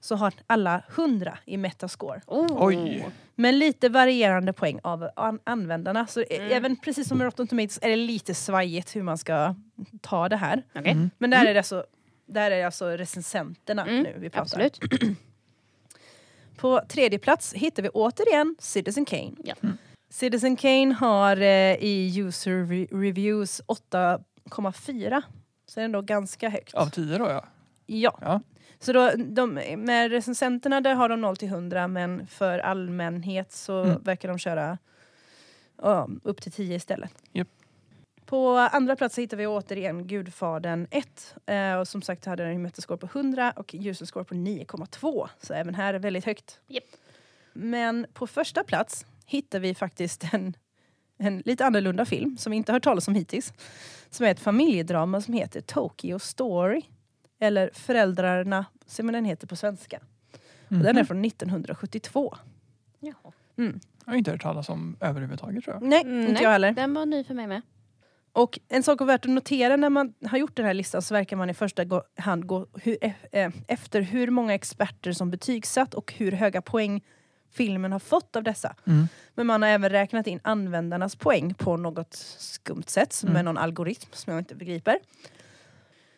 Speaker 1: så har alla 100 i metascore.
Speaker 2: Oh.
Speaker 3: Oj.
Speaker 1: Men lite varierande poäng av an- användarna. Så e-
Speaker 4: Mm.
Speaker 1: även precis som med Rotten Tomatoes är det lite svajigt hur man ska ta det här.
Speaker 2: Okej.
Speaker 3: Mm.
Speaker 1: Men där är det alltså, där är det alltså recensenterna
Speaker 2: Mm,
Speaker 1: nu vi pratar.
Speaker 2: Absolut.
Speaker 1: På tredje plats hittar vi återigen Citizen Kane.
Speaker 2: Ja.
Speaker 1: Citizen Kane har eh, i user re- reviews 8,4. Så är den då ganska högt.
Speaker 3: Av tio då ja.
Speaker 1: Ja.
Speaker 3: Ja.
Speaker 1: Så då, de, med recensenterna där har de 0 till 100 men för allmänhet så
Speaker 3: Mm.
Speaker 1: verkar de köra ja, upp till 10 istället.
Speaker 3: Japp.
Speaker 1: På andra plats hittar vi återigen Gudfadern 1. Eh, och som sagt hade den en metascore på 100 och user score på 9,2. Så även här är väldigt högt.
Speaker 2: Japp.
Speaker 1: Men på första plats hittar vi faktiskt en, en lite annorlunda film som vi inte har hört talas om hittills. Som är ett familjedrama som heter Tokyo Story. Eller Föräldrarna, som den heter på svenska. Och Mm. Den är från 1972.
Speaker 3: Mm. Jag har inte hört talas om överhuvudtaget tror jag.
Speaker 1: Nej,
Speaker 2: Mm,
Speaker 1: inte
Speaker 2: nej.
Speaker 1: jag heller.
Speaker 2: Den var ny för mig med.
Speaker 1: Och en sak värt att notera när man har gjort den här listan så verkar man i första gå- hand gå hu- e- eh, efter hur många experter som betygsatt och hur höga poäng filmen har fått av dessa.
Speaker 3: Mm.
Speaker 1: Men man har även räknat in användarnas poäng på något skumt sätt som
Speaker 3: Mm.
Speaker 1: med någon algoritm som jag inte begriper.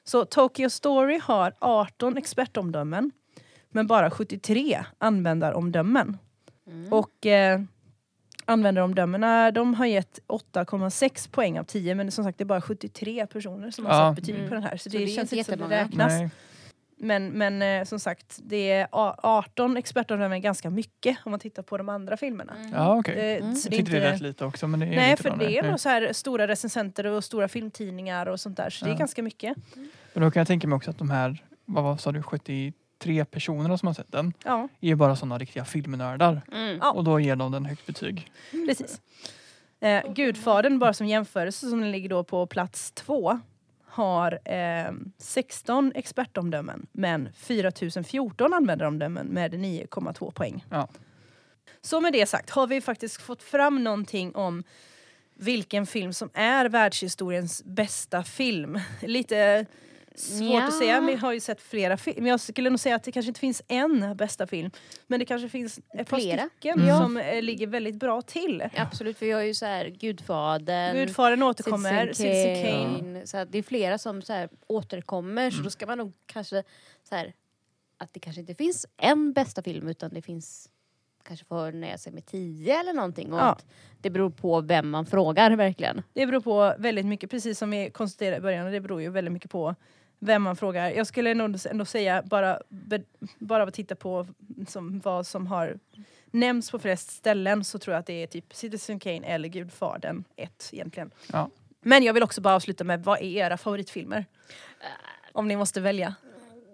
Speaker 1: Så Tokyo Story har 18 expertomdömen men bara 73 användaromdömen.
Speaker 2: Mm.
Speaker 1: Och eh, användaromdömena de har gett 8,6 poäng av 10 men som sagt det är bara 73 personer som har
Speaker 3: Ja.
Speaker 1: satt betyg
Speaker 2: Mm.
Speaker 1: på den här. Så,
Speaker 2: Så
Speaker 1: det,
Speaker 2: det är
Speaker 1: känns
Speaker 2: inte
Speaker 1: inte som det
Speaker 2: jättemånga.
Speaker 1: räknas.
Speaker 3: Nej.
Speaker 1: Men, men eh, som sagt, det är a- 18 expertomdömen är ganska mycket om man tittar på de andra filmerna.
Speaker 3: Ja okej.
Speaker 1: Eh,
Speaker 2: Mm.
Speaker 1: så
Speaker 3: Jag
Speaker 1: det är
Speaker 3: tyckte det
Speaker 1: inte-
Speaker 3: lät lite också men det är
Speaker 1: Nej,
Speaker 3: lite
Speaker 1: för
Speaker 3: bra,
Speaker 1: det är
Speaker 3: nej.
Speaker 1: nog så här stora recensenter och stora filmtidningar och sånt där. Så det
Speaker 3: Ja.
Speaker 1: är ganska mycket.
Speaker 3: Men då kan jag tänka mig också att de här, vad var, sa du, 73 personerna som har sett den
Speaker 1: Ja,
Speaker 3: är ju bara sådana riktiga filmnördar.
Speaker 2: Mm.
Speaker 1: Ja.
Speaker 3: Och då ger de den högt betyg.
Speaker 1: precis. Eh, Gudfadern, bara som jämförelse, som den ligger då på plats två har eh, 16 expertomdömen men 4014 användaromdömen med 9,2 poäng.
Speaker 3: Ja.
Speaker 1: Så med det sagt har vi faktiskt fått fram någonting om vilken film som är världshistoriens bästa film. Lite svårt
Speaker 2: Nja.
Speaker 1: att säga, men jag har ju sett flera filmer. Jag skulle nog säga att det kanske inte finns en bästa film. Men det kanske finns ett par
Speaker 2: Flera.
Speaker 1: stycken
Speaker 3: Mm.
Speaker 1: som eh, ligger väldigt bra till.
Speaker 2: Absolut, för jag är ju så här Gudfadern,
Speaker 1: Gudfadern
Speaker 2: Citizen
Speaker 1: återkommer, Citizen Kane.
Speaker 2: Kane. Så här, det är flera som så här, återkommer så då ska man nog kanske så här, att det kanske inte finns en bästa film utan det finns kanske får nöja sig med tio eller någonting och
Speaker 1: Ja.
Speaker 2: att det beror på vem man frågar verkligen.
Speaker 1: Det beror på väldigt mycket, precis som vi konstaterade i början, det beror ju väldigt mycket på vem man frågar. Jag skulle nog ändå säga, bara, be, bara av att titta på som, vad som har nämnts på flest ställen så tror jag att det är typ Citizen Kane eller Gudfadern 1 egentligen.
Speaker 3: Ja.
Speaker 1: Men jag vill också bara avsluta med, vad är era favoritfilmer? Om ni måste välja.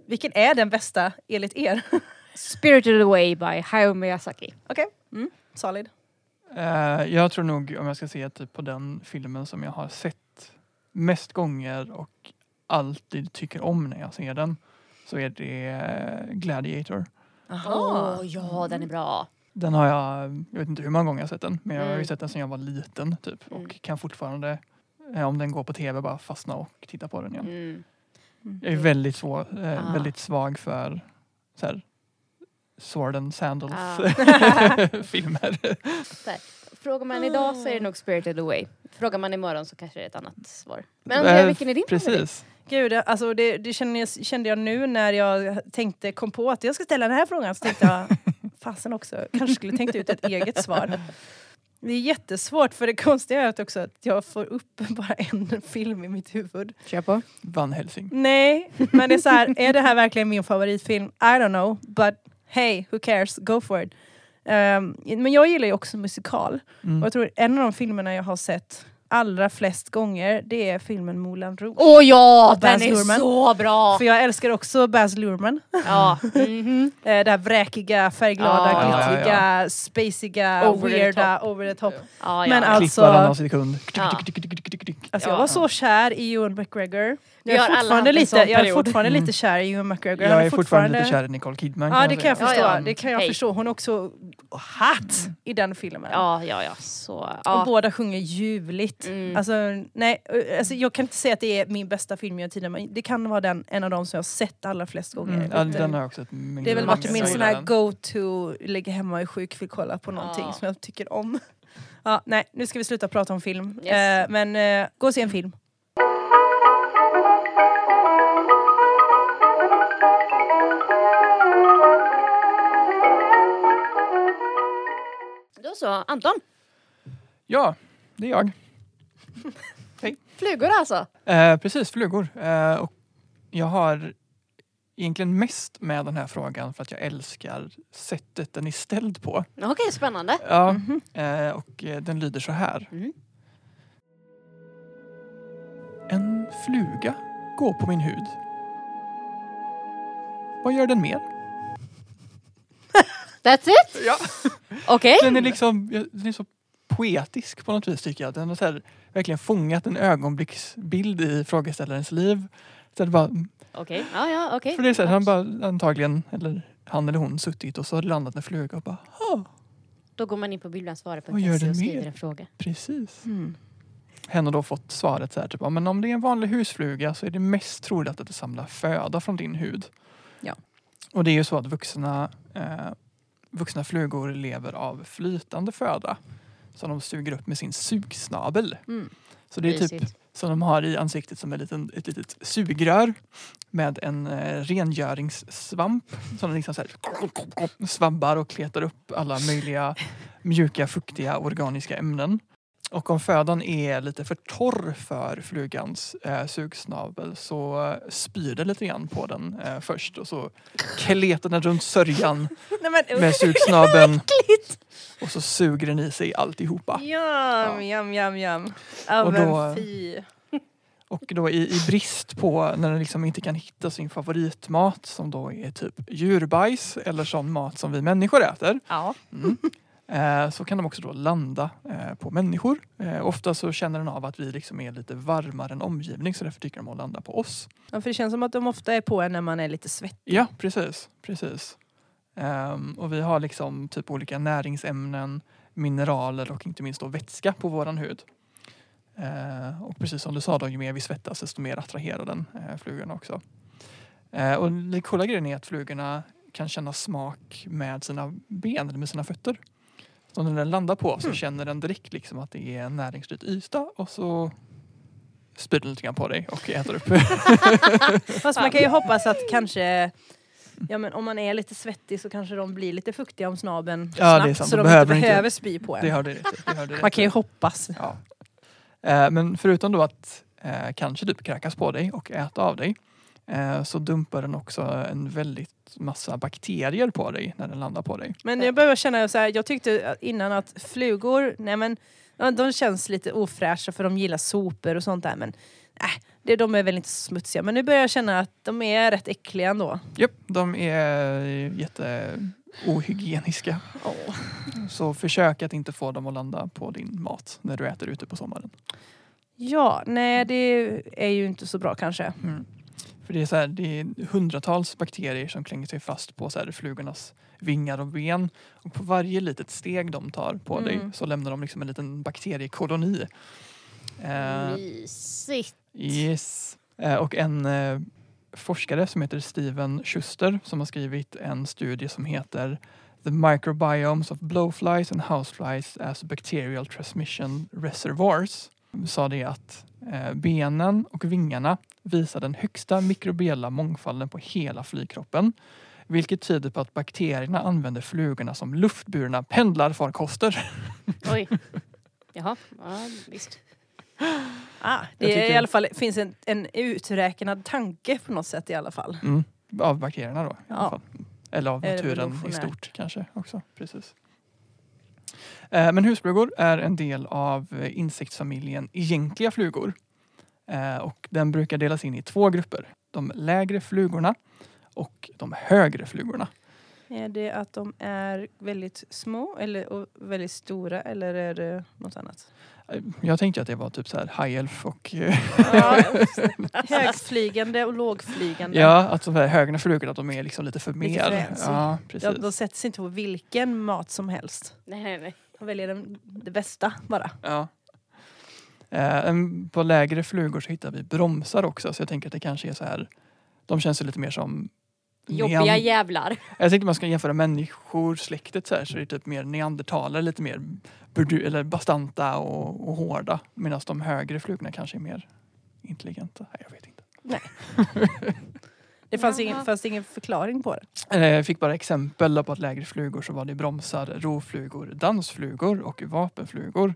Speaker 1: Vilken är den bästa enligt er?
Speaker 2: Spirited Away by Hayao Miyazaki.
Speaker 1: Okej, mm. solid.
Speaker 3: Eh, jag tror nog, om jag ska se typ på den filmen som jag har sett mest gånger och alltid tycker om när jag ser den så är det eh, Gladiator.
Speaker 1: Ah.
Speaker 2: Åh ja, den är bra.
Speaker 3: Den har jag, jag vet inte hur många gånger jag har sett den, men jag har ju
Speaker 2: Mm.
Speaker 3: sett den sedan jag var liten typ
Speaker 2: Mm.
Speaker 3: och kan fortfarande, eh, om den går på tv, bara fastna och titta på den igen.
Speaker 2: Mm.
Speaker 3: Jag är väldigt, svår, eh,
Speaker 2: Ah.
Speaker 3: väldigt svag för så här, Sword and Sandals filmer.
Speaker 2: Frågar man idag så är det nog Spirited Away. Frågar man imorgon så kanske det är ett annat svar. Men
Speaker 3: Eh,
Speaker 2: Andrea, vilken är din favorit?
Speaker 3: Precis.
Speaker 1: Gud, jag- alltså det, det kände, jag, kände jag nu när jag tänkte, kom på att jag ska ställa den här frågan. Så tänkte jag, fasen också, kanske skulle tänkt ut ett eget svar. Det är jättesvårt för det konstiga är att också att jag får upp bara en film i mitt huvud.
Speaker 2: Kör på.
Speaker 3: Van Helsing.
Speaker 1: Nej, men det är så här, är det här verkligen min favoritfilm? I don't know, but hey, who cares, go for it. Ehm, men jag gillar ju också musikal. Och
Speaker 3: Mm.
Speaker 1: jag tror en av de filmerna jag har sett allra flest gånger, det är filmen Moulin Rouge.
Speaker 2: Åh ja,
Speaker 1: Och
Speaker 2: den
Speaker 1: Baz
Speaker 2: är
Speaker 1: Luhrmann.
Speaker 2: så bra!
Speaker 1: För jag älskar också Baz Luhrmann.
Speaker 2: Ja. Mhm.
Speaker 1: Eh, det här vräkiga, färgglada,
Speaker 2: Ja,
Speaker 3: ja,
Speaker 1: glittriga, spaciga,
Speaker 2: Over the
Speaker 1: weirda, over the top.
Speaker 2: ja, ja.
Speaker 1: Men
Speaker 2: ja.
Speaker 1: all-
Speaker 3: Klipp
Speaker 1: Alltså-
Speaker 3: varannan sekund.
Speaker 2: Ja.
Speaker 1: Alltså
Speaker 2: Ja.
Speaker 1: jag var så kär i Ewan McGregor.
Speaker 2: Vi
Speaker 1: Jag
Speaker 2: har alla
Speaker 1: är
Speaker 2: haft
Speaker 1: fortfarande,
Speaker 2: en
Speaker 1: lite,
Speaker 2: sån
Speaker 1: jag är
Speaker 2: period.
Speaker 1: fortfarande
Speaker 3: Mm.
Speaker 1: lite kär i Ewan McGregor. Han
Speaker 3: Jag är fortfarande lite kär i Nicole Kidman. kan
Speaker 1: Ja det kan jag
Speaker 3: säga.
Speaker 1: förstå.
Speaker 2: Ja, ja.
Speaker 1: Det kan jag
Speaker 2: Hej. Mm.
Speaker 1: förstå. Hon är också och hatt i den filmen.
Speaker 2: Ja, ja, ja. Så,
Speaker 1: Och
Speaker 2: ja.
Speaker 1: båda sjunger ljuvligt.
Speaker 2: Mm.
Speaker 1: Alltså, nej, alltså, jag kan inte säga att det är min bästa film genom tiden men det kan vara den, en av de som jag har sett allra flest gånger.
Speaker 3: Mm. Ja,
Speaker 1: Lite-
Speaker 3: den har jag också sett miljoner
Speaker 1: det är väl
Speaker 3: gånger.
Speaker 1: varit
Speaker 3: Jag
Speaker 1: min sån
Speaker 3: gillar
Speaker 1: här
Speaker 3: den.
Speaker 1: go-to, ligga hemma och är sjuk, vill kolla på någonting
Speaker 2: Ja.
Speaker 1: som jag tycker om. Ja, nej, nu ska vi sluta prata om film.
Speaker 2: Yes.
Speaker 1: Eh, men eh, gå och se en film. Alltså-
Speaker 2: Då så, Anton.
Speaker 3: Ja, det är jag.
Speaker 2: Flugor alltså.
Speaker 3: Eh, precis, flugor. Eh, och jag har egentligen mest med den här frågan för att jag älskar sättet den är ställd på.
Speaker 2: Okej, spännande.
Speaker 3: Ja,
Speaker 1: Mhm.
Speaker 3: eh, och eh, den lyder så här.
Speaker 2: Mm.
Speaker 3: En fluga går på min hud. Vad gör den mer?
Speaker 2: That's it?
Speaker 3: Ja.
Speaker 2: Okej.
Speaker 3: Den är liksom ja, den är så poetisk på något vis tycker jag. Den har så här, verkligen fångat en ögonblicksbild i frågeställarens liv. Så det bara,
Speaker 2: Okej. Ja, ja, okej.
Speaker 3: För det är så här, han bara antagligen, eller han eller hon, suttit och så har det landat en fluga och bara ha,
Speaker 2: Då går man in på
Speaker 3: Vad gör
Speaker 2: bildlandsvara.se
Speaker 3: den
Speaker 2: och skriver
Speaker 3: mer?
Speaker 2: en fråga.
Speaker 3: precis. Hen har då fått svaret så här, typ, "Ja, men om det är en vanlig husfluga så är det mest troligt att det samlar föda från din hud.
Speaker 1: Ja.
Speaker 3: Och det är ju så att vuxna, eh, vuxna flugor lever av flytande föda som de suger upp med sin sugsnabel.
Speaker 1: Mm.
Speaker 3: Så det är typ
Speaker 2: Mysigt.
Speaker 3: som de har i ansiktet som en liten, ett litet sugrör med en eh, rengöringssvamp som de liksom så här svabbar och kletar upp alla möjliga mjuka, fuktiga, organiska ämnen. Och om födan är lite för torr för flugans eh, sugsnabel så eh, spyr det lite grann på den eh, först och så kletar den runt sörjan
Speaker 1: Nej, men,
Speaker 3: med sugsnabeln och så suger den i sig alltihopa.
Speaker 1: Jam, jam, jam, jam. Ja,
Speaker 3: Och
Speaker 1: men
Speaker 3: då-
Speaker 1: fy.
Speaker 3: Och då i, i brist på när den liksom inte kan hitta sin favoritmat som då är typ djurbajs eller sån mat som vi människor äter mm,
Speaker 1: Ja.
Speaker 3: eh, så kan de också då landa eh, på människor. Eh, ofta så känner den av att vi liksom är lite varmare än omgivning så därför tycker de att landa på oss.
Speaker 1: ja, för det känns som att de ofta är på en när man är lite svettig.
Speaker 3: Ja, precis. precis. Ehm, och vi har liksom typ olika näringsämnen, mineraler och inte minst då vätska på våran hud. Eh, och precis som du sa, då, ju mer vi svettas desto mer attraherar den eh, flugorna också. Eh, och den coola grejen är att flugorna kan känna smak med sina ben, eller med sina fötter. Så när den landar på så
Speaker 1: Mm.
Speaker 3: känner den direkt liksom att det är en näringsrik yta och så spyr den lite grann på dig och äter upp.
Speaker 1: Fast man kan ju hoppas att kanske Ja men om man är lite svettig så kanske de blir lite fuktiga om snabeln
Speaker 3: Ja, det är
Speaker 1: snabbt
Speaker 3: sant.
Speaker 1: så
Speaker 3: De
Speaker 1: de
Speaker 3: behöver
Speaker 1: inte
Speaker 3: inte-
Speaker 1: behöver spy på en.
Speaker 3: det har du rätt i, det har du rätt
Speaker 1: Man kan ju
Speaker 3: i.
Speaker 1: hoppas.
Speaker 3: Ja. Eh, Men förutom då att eh, kanske typ kräkas på dig och äta av dig eh, så dumpar den också en väldigt massa bakterier på dig när den landar på dig.
Speaker 1: Men jag börjar känna så här, jag tyckte innan att flugor, nej men ja, de känns lite ofräscha för de gillar sopor och sånt där men äh, det, de är väl inte så smutsiga. Men nu börjar jag känna att de är rätt äckliga ändå.
Speaker 3: Japp, de är jätteohygieniska. Så försök att inte få dem att landa på din mat när du äter ute på sommaren.
Speaker 1: Ja, nej det är ju inte så bra kanske.
Speaker 3: För det är, så här, det är hundratals bakterier som klänger sig fast på så här, flugornas vingar och ben. Och på varje litet steg de tar på dig
Speaker 1: Mm.
Speaker 3: så lämnar de liksom en liten bakteriekoloni. Eh,
Speaker 2: Mysigt.
Speaker 3: Yes. Eh, Och en eh, forskare som heter Steven Schuster som har skrivit en studie som heter The Microbiomes of Blowflies and Houseflies as Bacterial Transmission Reservoirs sa det att eh, benen och vingarna visar den högsta mikrobiella mångfalden på hela flygkroppen vilket tyder på att bakterierna använder flugorna som luftburna pendlarfarkoster.
Speaker 2: Oj. Jaha, ja, visst.
Speaker 1: Ah,
Speaker 3: Jag
Speaker 1: det är
Speaker 3: tycker-
Speaker 1: i alla fall, finns en, en uträknad tanke på något sätt i alla fall.
Speaker 3: Mm. Av bakterierna då. I alla
Speaker 1: Ja.
Speaker 3: fall. Eller av naturen i
Speaker 1: Evolutionärt.
Speaker 3: stort kanske också. Precis. Eh, Men husflugor är en del av eh, insektsfamiljen egentliga flugor. Eh, Och den brukar delas in i två grupper. De lägre flugorna och de högre flugorna.
Speaker 1: Är det att de är väldigt små eller och väldigt stora eller är det något annat?
Speaker 3: Eh, Jag tänkte att det var typ så här high elf och eh,
Speaker 1: Mm. Ja, högflygande och lågflygande.
Speaker 3: ja, att de här högarna förbrukar att de är liksom lite för
Speaker 1: Lite
Speaker 3: mer.
Speaker 1: fräs.
Speaker 3: Ja,
Speaker 1: Ja, de
Speaker 3: precis.
Speaker 1: sätter sig inte på vilken mat som helst.
Speaker 2: Nej, nej, nej.
Speaker 1: De väljer den, det bästa bara.
Speaker 3: Ja. Eh, en- På lägre flugor så hittar vi bromsar också så jag tänker att det kanske är så här. De känns ju lite mer som
Speaker 2: Jobbiga
Speaker 3: nean-
Speaker 2: jävlar.
Speaker 3: Jag tänkte man ska jämföra människor, släktet så här så det är typ mer neandertalare, lite mer burdu, eller bastanta och, och hårda. Medan de högre flugorna kanske är mer intelligenta. Nej, jag vet inte.
Speaker 1: Det fanns
Speaker 2: Jaha.
Speaker 1: ingen, fanns ingen förklaring på det.
Speaker 3: Eh, Jag fick bara exempel där på att lägre flugor så var det bromsar, rovflugor, dansflugor och vapenflugor.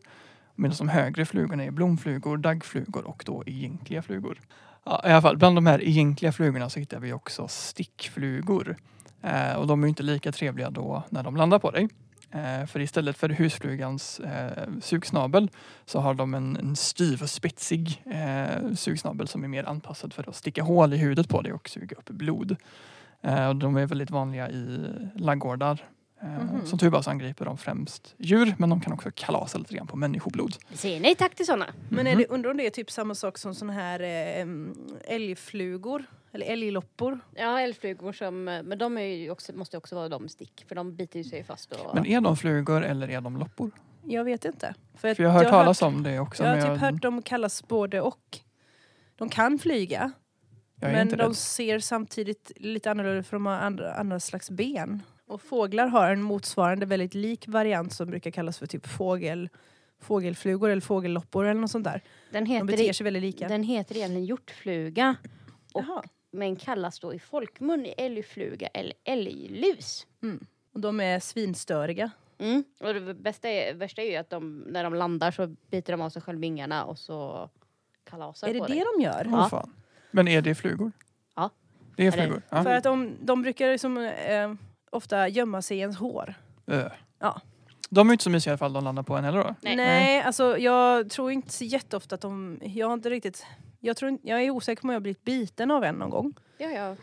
Speaker 3: Medan de högre flugorna är blomflugor, daggflugor och då egentliga flugor. Ja, I alla fall, bland de här egentliga flugorna så hittar vi också stickflugor. Eh, och de är ju inte lika trevliga då när de landar på dig. Eh, för istället för husflugans eh, sugsnabel så har de en, en styv och spetsig eh, sugsnabel som är mer anpassad för att sticka hål i huvudet på dig och suga upp blod. Eh, och de är väldigt vanliga i laggårdar. Eh,
Speaker 1: Mhm.
Speaker 3: Som tur var så angriper de främst djur men de kan också kalasa lite grann på människoblod.
Speaker 2: Vi säger nej tack till sådana.
Speaker 1: Men är det,
Speaker 3: Mm-hmm.
Speaker 1: undrar om det är typ samma sak som sån här eh, em, älgflugor? Eller älgloppor?
Speaker 2: Ja, älgflugor som, men de är ju också, måste också vara de stick för de biter ju sig fast och...
Speaker 3: Mhm. Men är de flugor eller är de loppor?
Speaker 1: Jag vet inte.
Speaker 3: För jag har hört talas om det också.
Speaker 1: Jag har
Speaker 3: men
Speaker 1: typ hört dem kallas både och. De kan flyga,
Speaker 3: jag är
Speaker 1: men
Speaker 3: inte
Speaker 1: de
Speaker 3: rädd.
Speaker 1: ser samtidigt lite annorlunda ut för de har andra, andra slags ben. Och fåglar har en motsvarande väldigt lik variant som brukar kallas för typ fågel, fågelflugor eller fågelloppor eller något sånt där.
Speaker 2: Den
Speaker 1: De
Speaker 2: heter,
Speaker 1: beter
Speaker 2: i-
Speaker 1: sig väldigt lika.
Speaker 2: den heter egentligen hjortfluga och-
Speaker 1: Jaha.
Speaker 2: men kallas då i folkmun älgfluga eller älglus.
Speaker 1: Och de är svinstöriga.
Speaker 2: Mm. Och det bästa är, värsta är ju att de, när de landar så biter de av sig själva vingarna och så kalasar
Speaker 1: Är det
Speaker 2: på
Speaker 1: det
Speaker 2: dig.
Speaker 1: de gör?
Speaker 3: Åh, fan. Men är det flugor?
Speaker 2: Ja.
Speaker 3: Det är
Speaker 2: Eller-
Speaker 3: flugor? Ja.
Speaker 1: För att de, de brukar liksom, eh, ofta gömma sig i ens hår.
Speaker 3: Ö.
Speaker 1: Ja.
Speaker 3: De är ju inte så mysiga i alla fall de landar på en heller då.
Speaker 2: Nej.
Speaker 1: Nej, alltså jag tror inte så jätteofta att de... Jag har inte riktigt... Jag, tror, inte- jag är osäker på om jag har blivit biten av en någon gång.
Speaker 2: Ja, ja.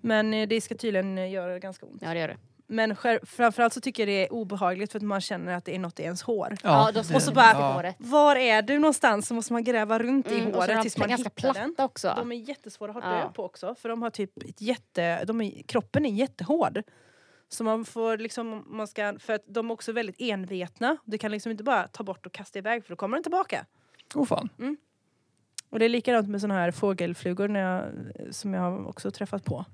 Speaker 1: Men eh, det ska tydligen eh, göra ganska ont.
Speaker 2: ja, det gör det.
Speaker 1: Men själv, framförallt så tycker jag det är obehagligt för att man känner att det är något i ens hår.
Speaker 2: Ja, då ska
Speaker 3: det-
Speaker 1: Och så bara-
Speaker 2: ja. håret.
Speaker 1: Var är du någonstans så måste man gräva runt i
Speaker 2: Mm, och så är
Speaker 1: håret
Speaker 2: de
Speaker 1: tills man
Speaker 2: ganska
Speaker 1: hittar
Speaker 2: platta
Speaker 1: den.
Speaker 2: också.
Speaker 1: De är jättesvåra att ha
Speaker 2: Ja.
Speaker 1: död på också för de har typ ett jätte... De är, kroppen är jättehård. Så man får liksom, man ska, för att de är också väldigt envetna. Du kan liksom inte bara ta bort och kasta iväg för då kommer den tillbaka.
Speaker 3: Åh fan.
Speaker 1: Och det är likadant med såna här fågelflugor när jag, som jag har också träffat på.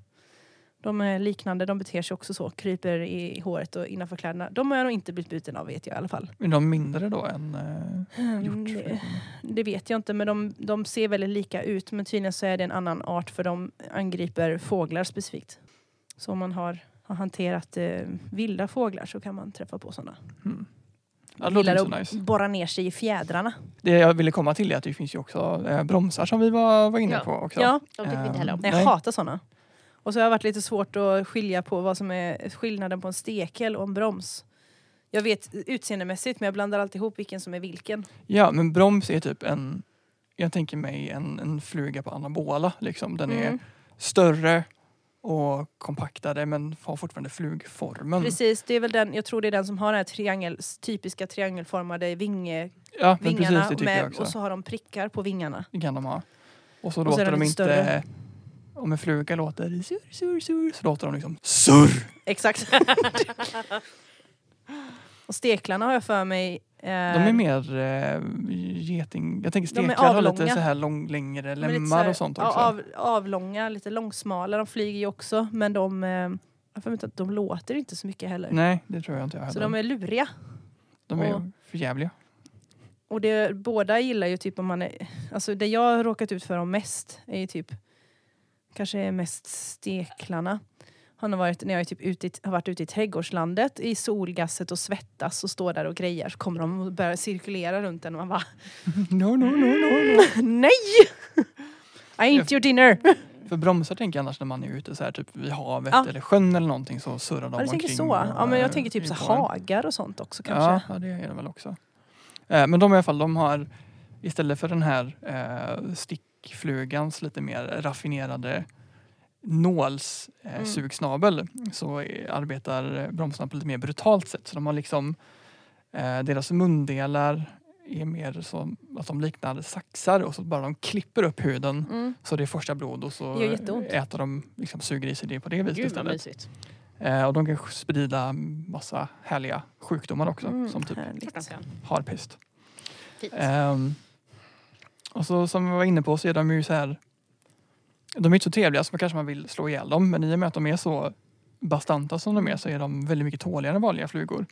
Speaker 1: De är liknande, de beter sig också så. Kryper i, i håret och innanför kläderna. De har jag nog inte blivit biten av vet jag i alla fall.
Speaker 3: Är de mindre då än eh,
Speaker 1: Mm,
Speaker 3: hjortflugor?
Speaker 1: det, det vet jag inte men de, de ser väldigt lika ut. Men tydligen så är det en annan art för de angriper fåglar specifikt. Så om man har, har hanterat eh, vilda fåglar så kan man träffa på sådana.
Speaker 3: Mm. Ja, det låter
Speaker 1: Gillar
Speaker 3: inte så
Speaker 1: att
Speaker 3: nice.
Speaker 1: borra ner sig i fjädrarna.
Speaker 3: Det jag ville komma till är att det finns ju också eh, bromsar som vi var, var inne
Speaker 2: Ja.
Speaker 3: på också.
Speaker 1: Ja,
Speaker 2: De tycker vi inte heller om.
Speaker 1: Ehm, Nej,
Speaker 3: Nej.
Speaker 1: jag hatar såna. Och så har jag varit lite svårt att skilja på vad som är skillnaden på en stekel och en broms. Jag vet utseendemässigt men jag blandar alltid ihop vilken som är vilken.
Speaker 3: Ja, men broms är typ en, jag tänker mig en, en fluga på anabola liksom. Den är
Speaker 1: Mm.
Speaker 3: större och kompaktare men har fortfarande flugformen.
Speaker 1: Precis, det är väl den, jag tror det är den som har den här triangel, typiska triangelformade vinge,
Speaker 3: Ja, men
Speaker 1: vingarna
Speaker 3: precis det tycker jag
Speaker 1: med,
Speaker 3: också.
Speaker 1: och så har de prickar på vingarna.
Speaker 3: Det kan de ha. Och så
Speaker 1: Och så är
Speaker 3: låter
Speaker 1: den
Speaker 3: de inte,
Speaker 1: lite större.
Speaker 3: om en fluga låter sur, sur, sur, så låter de liksom surr.
Speaker 1: Exakt. och steklarna har jag för mig eh,
Speaker 3: De är mer eh, geting, jag tänker
Speaker 1: De är
Speaker 3: steklar har lite
Speaker 1: avlånga.
Speaker 3: så här lång, längre
Speaker 1: de är lite
Speaker 3: lemmar
Speaker 1: så här-
Speaker 3: och sånt
Speaker 1: ja,
Speaker 3: också.
Speaker 1: Av, avlånga, lite långsmala. De flyger ju också men de, eh, jag har för mig att de låter inte så mycket heller.
Speaker 3: Nej, det tror jag inte jag heller.
Speaker 1: Så de är luriga.
Speaker 3: de är
Speaker 1: och-
Speaker 3: för jävliga.
Speaker 1: Och det, båda gillar ju typ om man är... Alltså det jag har råkat ut för dem mest är ju typ... Kanske mest steklarna. Han har varit, när jag är typ ute i, har varit ute i trädgårdslandet i solgasset och svettas och står där och grejar så kommer de och börjar cirkulera runt en och man bara
Speaker 3: No, no, no, no, no.
Speaker 1: NEJ! I ain't your dinner!
Speaker 3: För bromsar tänker jag annars när man är ute så här, typ vid havet
Speaker 1: Ja.
Speaker 3: eller sjön eller någonting så surrar de
Speaker 1: Ja, du tänker
Speaker 3: omkring
Speaker 1: så?
Speaker 3: och,
Speaker 1: Ja men jag
Speaker 3: eh,
Speaker 1: tänker typ
Speaker 3: in
Speaker 1: så här
Speaker 3: på en.
Speaker 1: hagar och sånt också kanske.
Speaker 3: Ja, ja det är det väl också. Eh, men de i alla fall, de har istället för den här eh, stickflugans lite mer raffinerade nålsugsnabel eh,
Speaker 1: Mm.
Speaker 3: sugsnabel så eh, arbetar bromsarna på lite mer brutalt sätt. Så de har liksom, eh, deras mundelar är mer som att de liknar saxar och så bara de klipper upp huden
Speaker 1: Mm.
Speaker 3: så det är första blod och så
Speaker 1: Det gör jätteont.
Speaker 3: äter de, liksom, suger i sig det på det viset
Speaker 5: Gud vad
Speaker 3: istället.
Speaker 5: mysigt.
Speaker 3: Eh, och de kan sprida massa härliga sjukdomar också som typ
Speaker 1: Mm. härligt.
Speaker 5: Klart de kan.
Speaker 3: harpest.
Speaker 5: Fint.
Speaker 3: Ehm, och så som vi var inne på så är de ju så här. De är inte så trevliga så kanske man vill slå ihjäl dem men i och med att de är så bastanta som de är så är de väldigt mycket tåligare än vanliga flugor.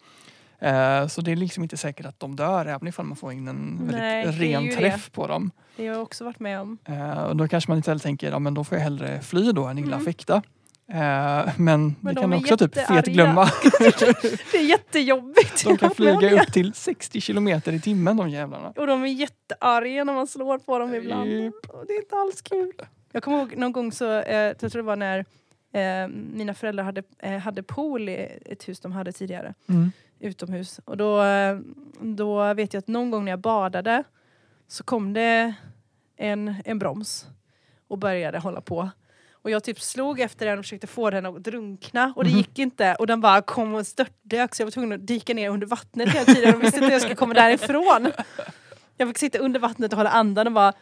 Speaker 3: Eh, så det är liksom inte säkert att de dör även ifall man får in en
Speaker 1: Nej,
Speaker 3: väldigt
Speaker 1: det är ju
Speaker 3: ren
Speaker 1: det.
Speaker 3: träff på dem.
Speaker 1: Det har jag också varit med om.
Speaker 3: Eh, och då kanske man istället tänker ja men då får jag hellre fly då än illa fäkta. Eh, men, det
Speaker 1: Mm. de
Speaker 3: kan
Speaker 1: är
Speaker 3: också typ
Speaker 1: jättearga.
Speaker 3: fetglömma.
Speaker 1: Det är jättejobbigt.
Speaker 3: De
Speaker 1: Jag har
Speaker 3: kan
Speaker 1: varit med om
Speaker 3: flyga
Speaker 1: det.
Speaker 3: upp till 60 kilometer i timmen de jävlarna.
Speaker 1: Och de är jättearga när man slår på dem ibland.
Speaker 3: Japp.
Speaker 1: Och det är inte alls kul. Jag kommer ihåg någon gång så, eh, jag tror det var när eh, mina föräldrar hade, eh, hade pool i ett hus de hade tidigare.
Speaker 3: Mm.
Speaker 1: utomhus. Och då, eh, då vet jag att någon gång när jag badade så kom det en, en broms och började hålla på. Och jag typ slog efter den och försökte få den att drunkna och det
Speaker 3: Mhm.
Speaker 1: gick inte. Och den bara kom och störtdök så jag var tvungen att dyka ner under vattnet hela tiden och visste inte hur jag skulle komma därifrån. Jag fick sitta under vattnet och hålla andan och bara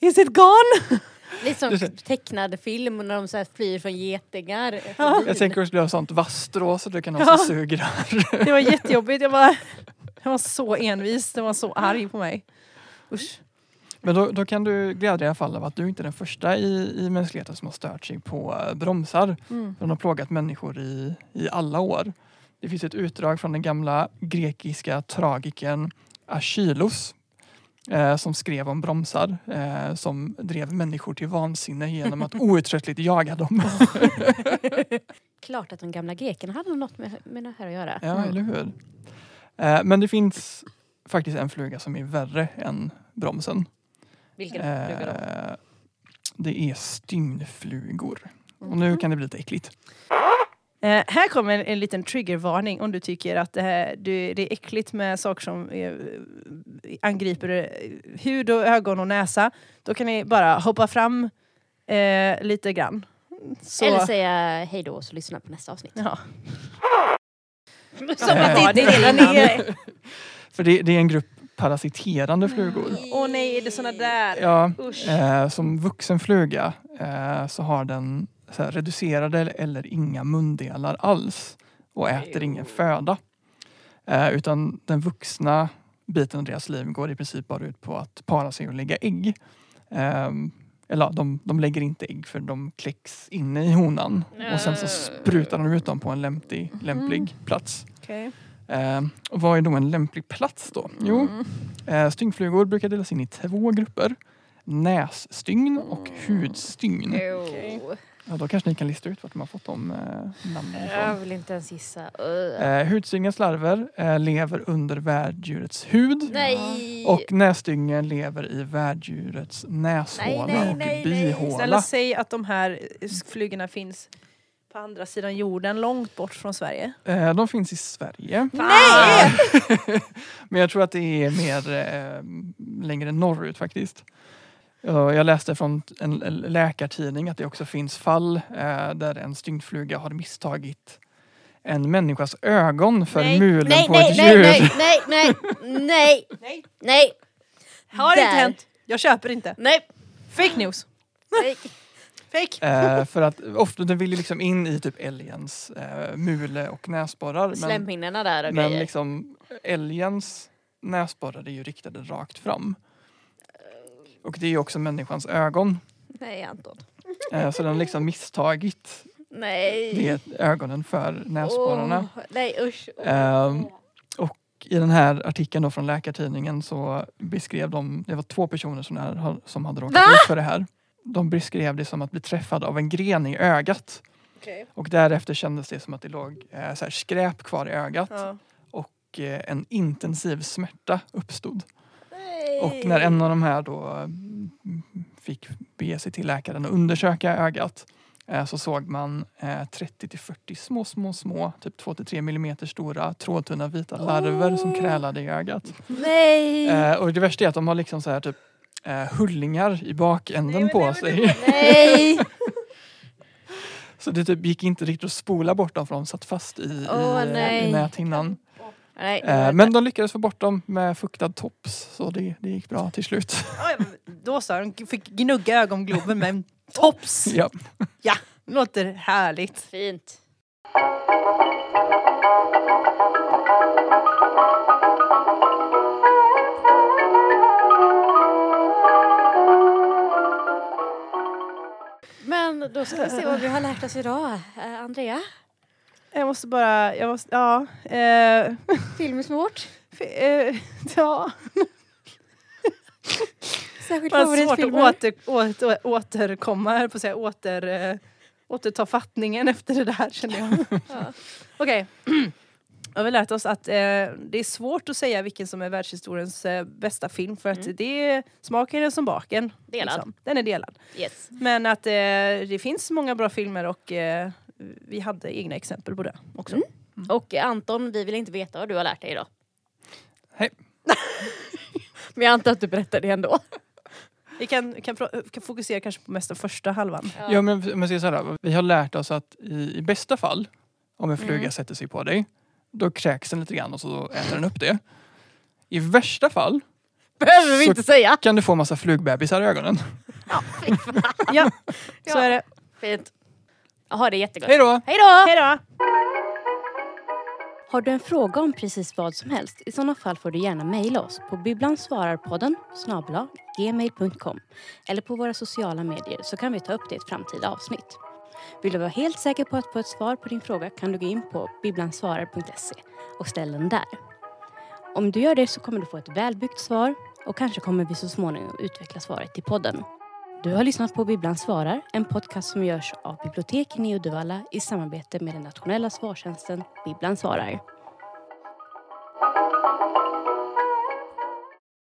Speaker 1: Is it gone?
Speaker 5: Lite som tecknad film när de så här flyr från getingar.
Speaker 3: Jag tänker att du har sånt vasstrå så du kan ha
Speaker 1: Ja.
Speaker 3: så sugrör.
Speaker 1: Det var jättejobbigt. Jag bara, den var så envis, den var så arg på mig. Usch.
Speaker 3: Men då, då kan du glädja dig i alla fall av att du inte är den första i, i mänskligheten som har stört sig på eh, bromsar.
Speaker 1: Mm.
Speaker 3: De har plågat människor i, i alla år. Det finns ett utdrag från den gamla grekiska tragikern Achilles eh, som skrev om bromsar eh, som drev människor till vansinne genom att outtröttligt jaga dem.
Speaker 2: Klart att de gamla grekerna hade något med, med det här att göra.
Speaker 3: Ja, eller hur? Eh, men det finns faktiskt en fluga som är värre än bromsen.
Speaker 5: Vilken fluga då?
Speaker 3: Eh, Det är stymflugor. Och
Speaker 5: Mhm.
Speaker 3: nu kan det bli lite äckligt.
Speaker 1: Eh, här kommer en, en liten triggervarning om du tycker att det, här, du, det är äckligt med saker som eh, angriper eh, hud och ögon och näsa. Då kan ni bara hoppa fram eh, lite grann. Så,
Speaker 2: Eller säga hej då och så lyssna på nästa avsnitt.
Speaker 1: ja.
Speaker 5: Som att
Speaker 3: Eh,
Speaker 5: det inte
Speaker 1: det
Speaker 5: är
Speaker 1: innan.
Speaker 5: ner.
Speaker 3: För det, det är en grupp parasiterande flugor.
Speaker 5: Mm.
Speaker 1: Åh nej, är det såna där?
Speaker 3: Ja,
Speaker 1: Usch.
Speaker 3: eh, som vuxen fluga eh, så har den så här, reducerade eller- eller inga mundelar alls och äter ingen föda. Eh, utan den vuxna biten av deras liv går i princip bara ut på att para sig och lägga ägg. Eh, eller ja, de, de lägger inte ägg för de kläcks inne i honan och sen så sprutar de ut dem på en lämplig, lämplig plats.
Speaker 1: Okej.
Speaker 3: Eh, och vad är då en lämplig plats då? Jo,
Speaker 1: Mm.
Speaker 3: eh, styngflugor brukar delas in i två grupper. Nässtygn och
Speaker 5: Mm.
Speaker 3: hudstygn.
Speaker 5: Eh. Jo.
Speaker 3: Ja, då kanske ni kan lista ut vart de har fått de eh, namnen
Speaker 5: Jag
Speaker 3: ifrån.
Speaker 5: vill inte ens gissa. Ugh.
Speaker 3: Eh, hudstyngens larver eh, lever under värddjurets hud.
Speaker 5: Nej!
Speaker 3: Och nässtyngen lever i värddjurets
Speaker 5: Nej,
Speaker 3: näshåla
Speaker 5: nej,
Speaker 3: och
Speaker 5: nej, nej.
Speaker 3: bihåla.
Speaker 1: Snälla säg att de här eh, flugorna finns på andra sidan jorden, långt bort från Sverige.
Speaker 3: Eh, de finns i Sverige.
Speaker 1: Nej!
Speaker 3: Ah. Men jag tror att det är mer eh, längre norrut faktiskt. Ja, Jag läste från en läkartidning att det också finns fall eh, där en stygnfluga har misstagit en människas ögon för
Speaker 1: Nej.
Speaker 3: mulen
Speaker 5: Nej,
Speaker 3: på
Speaker 5: nej,
Speaker 3: ett
Speaker 5: nej,
Speaker 3: djur.
Speaker 5: nej, nej, nej, nej,
Speaker 1: Nej.
Speaker 5: nej,
Speaker 1: Har
Speaker 5: Där.
Speaker 1: inte hänt. Jag köper inte.
Speaker 5: nej,
Speaker 1: Fake news.
Speaker 5: nej.
Speaker 1: Fake.
Speaker 3: Eh, för att ofta den vill ju liksom in i typ älgens eh, mule och näsborrar. Men,
Speaker 5: Slemhinnorna där och
Speaker 3: men
Speaker 5: grejer.
Speaker 3: liksom älgens näsborrar är ju riktade rakt fram. Och det är ju också människans ögon.
Speaker 5: Nej Anton.
Speaker 3: Eh, så den har liksom misstagit
Speaker 5: Nej.
Speaker 3: det ögonen för näsborrarna.
Speaker 5: Åh, nej usch.
Speaker 3: Ehm, och i den här artikeln då från Läkartidningen så beskrev de, det var två personer som, här, som hade råkat ut för det här. De beskrev det som att bli träffad av en gren i ögat.
Speaker 1: Okej.
Speaker 3: Och därefter kändes det som att det låg eh, så här skräp kvar i ögat
Speaker 1: Ja.
Speaker 3: och eh, en intensiv smärta uppstod.
Speaker 5: Nej.
Speaker 3: Och när en av de här då mm, fick bege sig till läkaren och undersöka ögat eh, så såg man eh, 30 till 40 små, små, små, typ 2 till 3 millimeter stora trådtunna vita larver som krälade i ögat.
Speaker 5: Nej.
Speaker 3: Eh, och det värsta är att de har liksom så här typ eh, hullingar i bakänden på sig.
Speaker 5: Nej.
Speaker 3: Så det typ gick inte riktigt att spola bort dem för de satt fast i, eh,
Speaker 5: Åh,
Speaker 3: i,
Speaker 5: nej.
Speaker 3: i näthinnan.
Speaker 5: Nej,
Speaker 3: Eh, men de lyckades få bort dem med fuktad tops så det, det gick bra till slut.
Speaker 1: Ja, ja, Då så, de fick gnugga ögongloben med en tops.
Speaker 3: ja.
Speaker 1: Låter härligt.
Speaker 5: Fint. Men då ska vi se vad vi har lärt oss idag. Eh, Andrea,
Speaker 1: Jag måste bara, jag måste, ja. Eh,
Speaker 5: film är svårt.
Speaker 1: f- eh, ja.
Speaker 5: Särskilt
Speaker 1: Det var svårt att
Speaker 5: favoritfilmer.
Speaker 1: åter, åter, återkomma, höll på att säga, åter, eh, återta fattningen efter det där kände jag.
Speaker 5: Ja.
Speaker 1: Okej. Jag har väl lärt oss att eh, det är svårt att säga vilken som är världshistoriens eh, bästa film för att det är smaken är som baken. liksom.
Speaker 5: Delad.
Speaker 3: Liksom.
Speaker 1: Den är Mm. delad.
Speaker 5: Yes.
Speaker 1: Men att eh, det finns många bra filmer och eh, vi hade egna exempel på det också.
Speaker 5: Och Anton, vi vill inte veta vad du har lärt dig idag.
Speaker 3: Hej.
Speaker 5: Men jag antar att du berättar det ändå.
Speaker 1: Vi kan, kan, pro- kan fokusera kanske på mest den första halvan.
Speaker 3: Ja, men men säger så här, vi har lärt oss att i, i bästa fall, om en fluga sätter sig på dig, då kräks den lite grann och så äter den upp det. I värsta fall
Speaker 5: Behöver vi
Speaker 3: Så-
Speaker 5: inte säga.
Speaker 3: kan du få massa flugbebisar i ögonen.
Speaker 1: Ja, så
Speaker 5: Ja.
Speaker 1: är det.
Speaker 5: Fint. Ja, Ha det jättegott.
Speaker 3: Hej då!
Speaker 5: Hej då!
Speaker 1: Hej då!
Speaker 2: Har du en fråga om precis vad som helst? I sådana fall får du gärna mejla oss på bibblansvararpodden snabel-a gmail.com eller på våra sociala medier så kan vi ta upp det i ett framtida avsnitt. Vill du vara helt säker på att få ett svar på din fråga kan du gå in på bibblansvarare.se och ställ den där. Om du gör det så kommer du få ett välbyggt svar och kanske kommer vi så småningom utveckla svaret till podden. Du har lyssnat på Bibblan svarar, en podcast som görs av biblioteken i Uddevalla i samarbete med den nationella svartjänsten Bibblan svarar.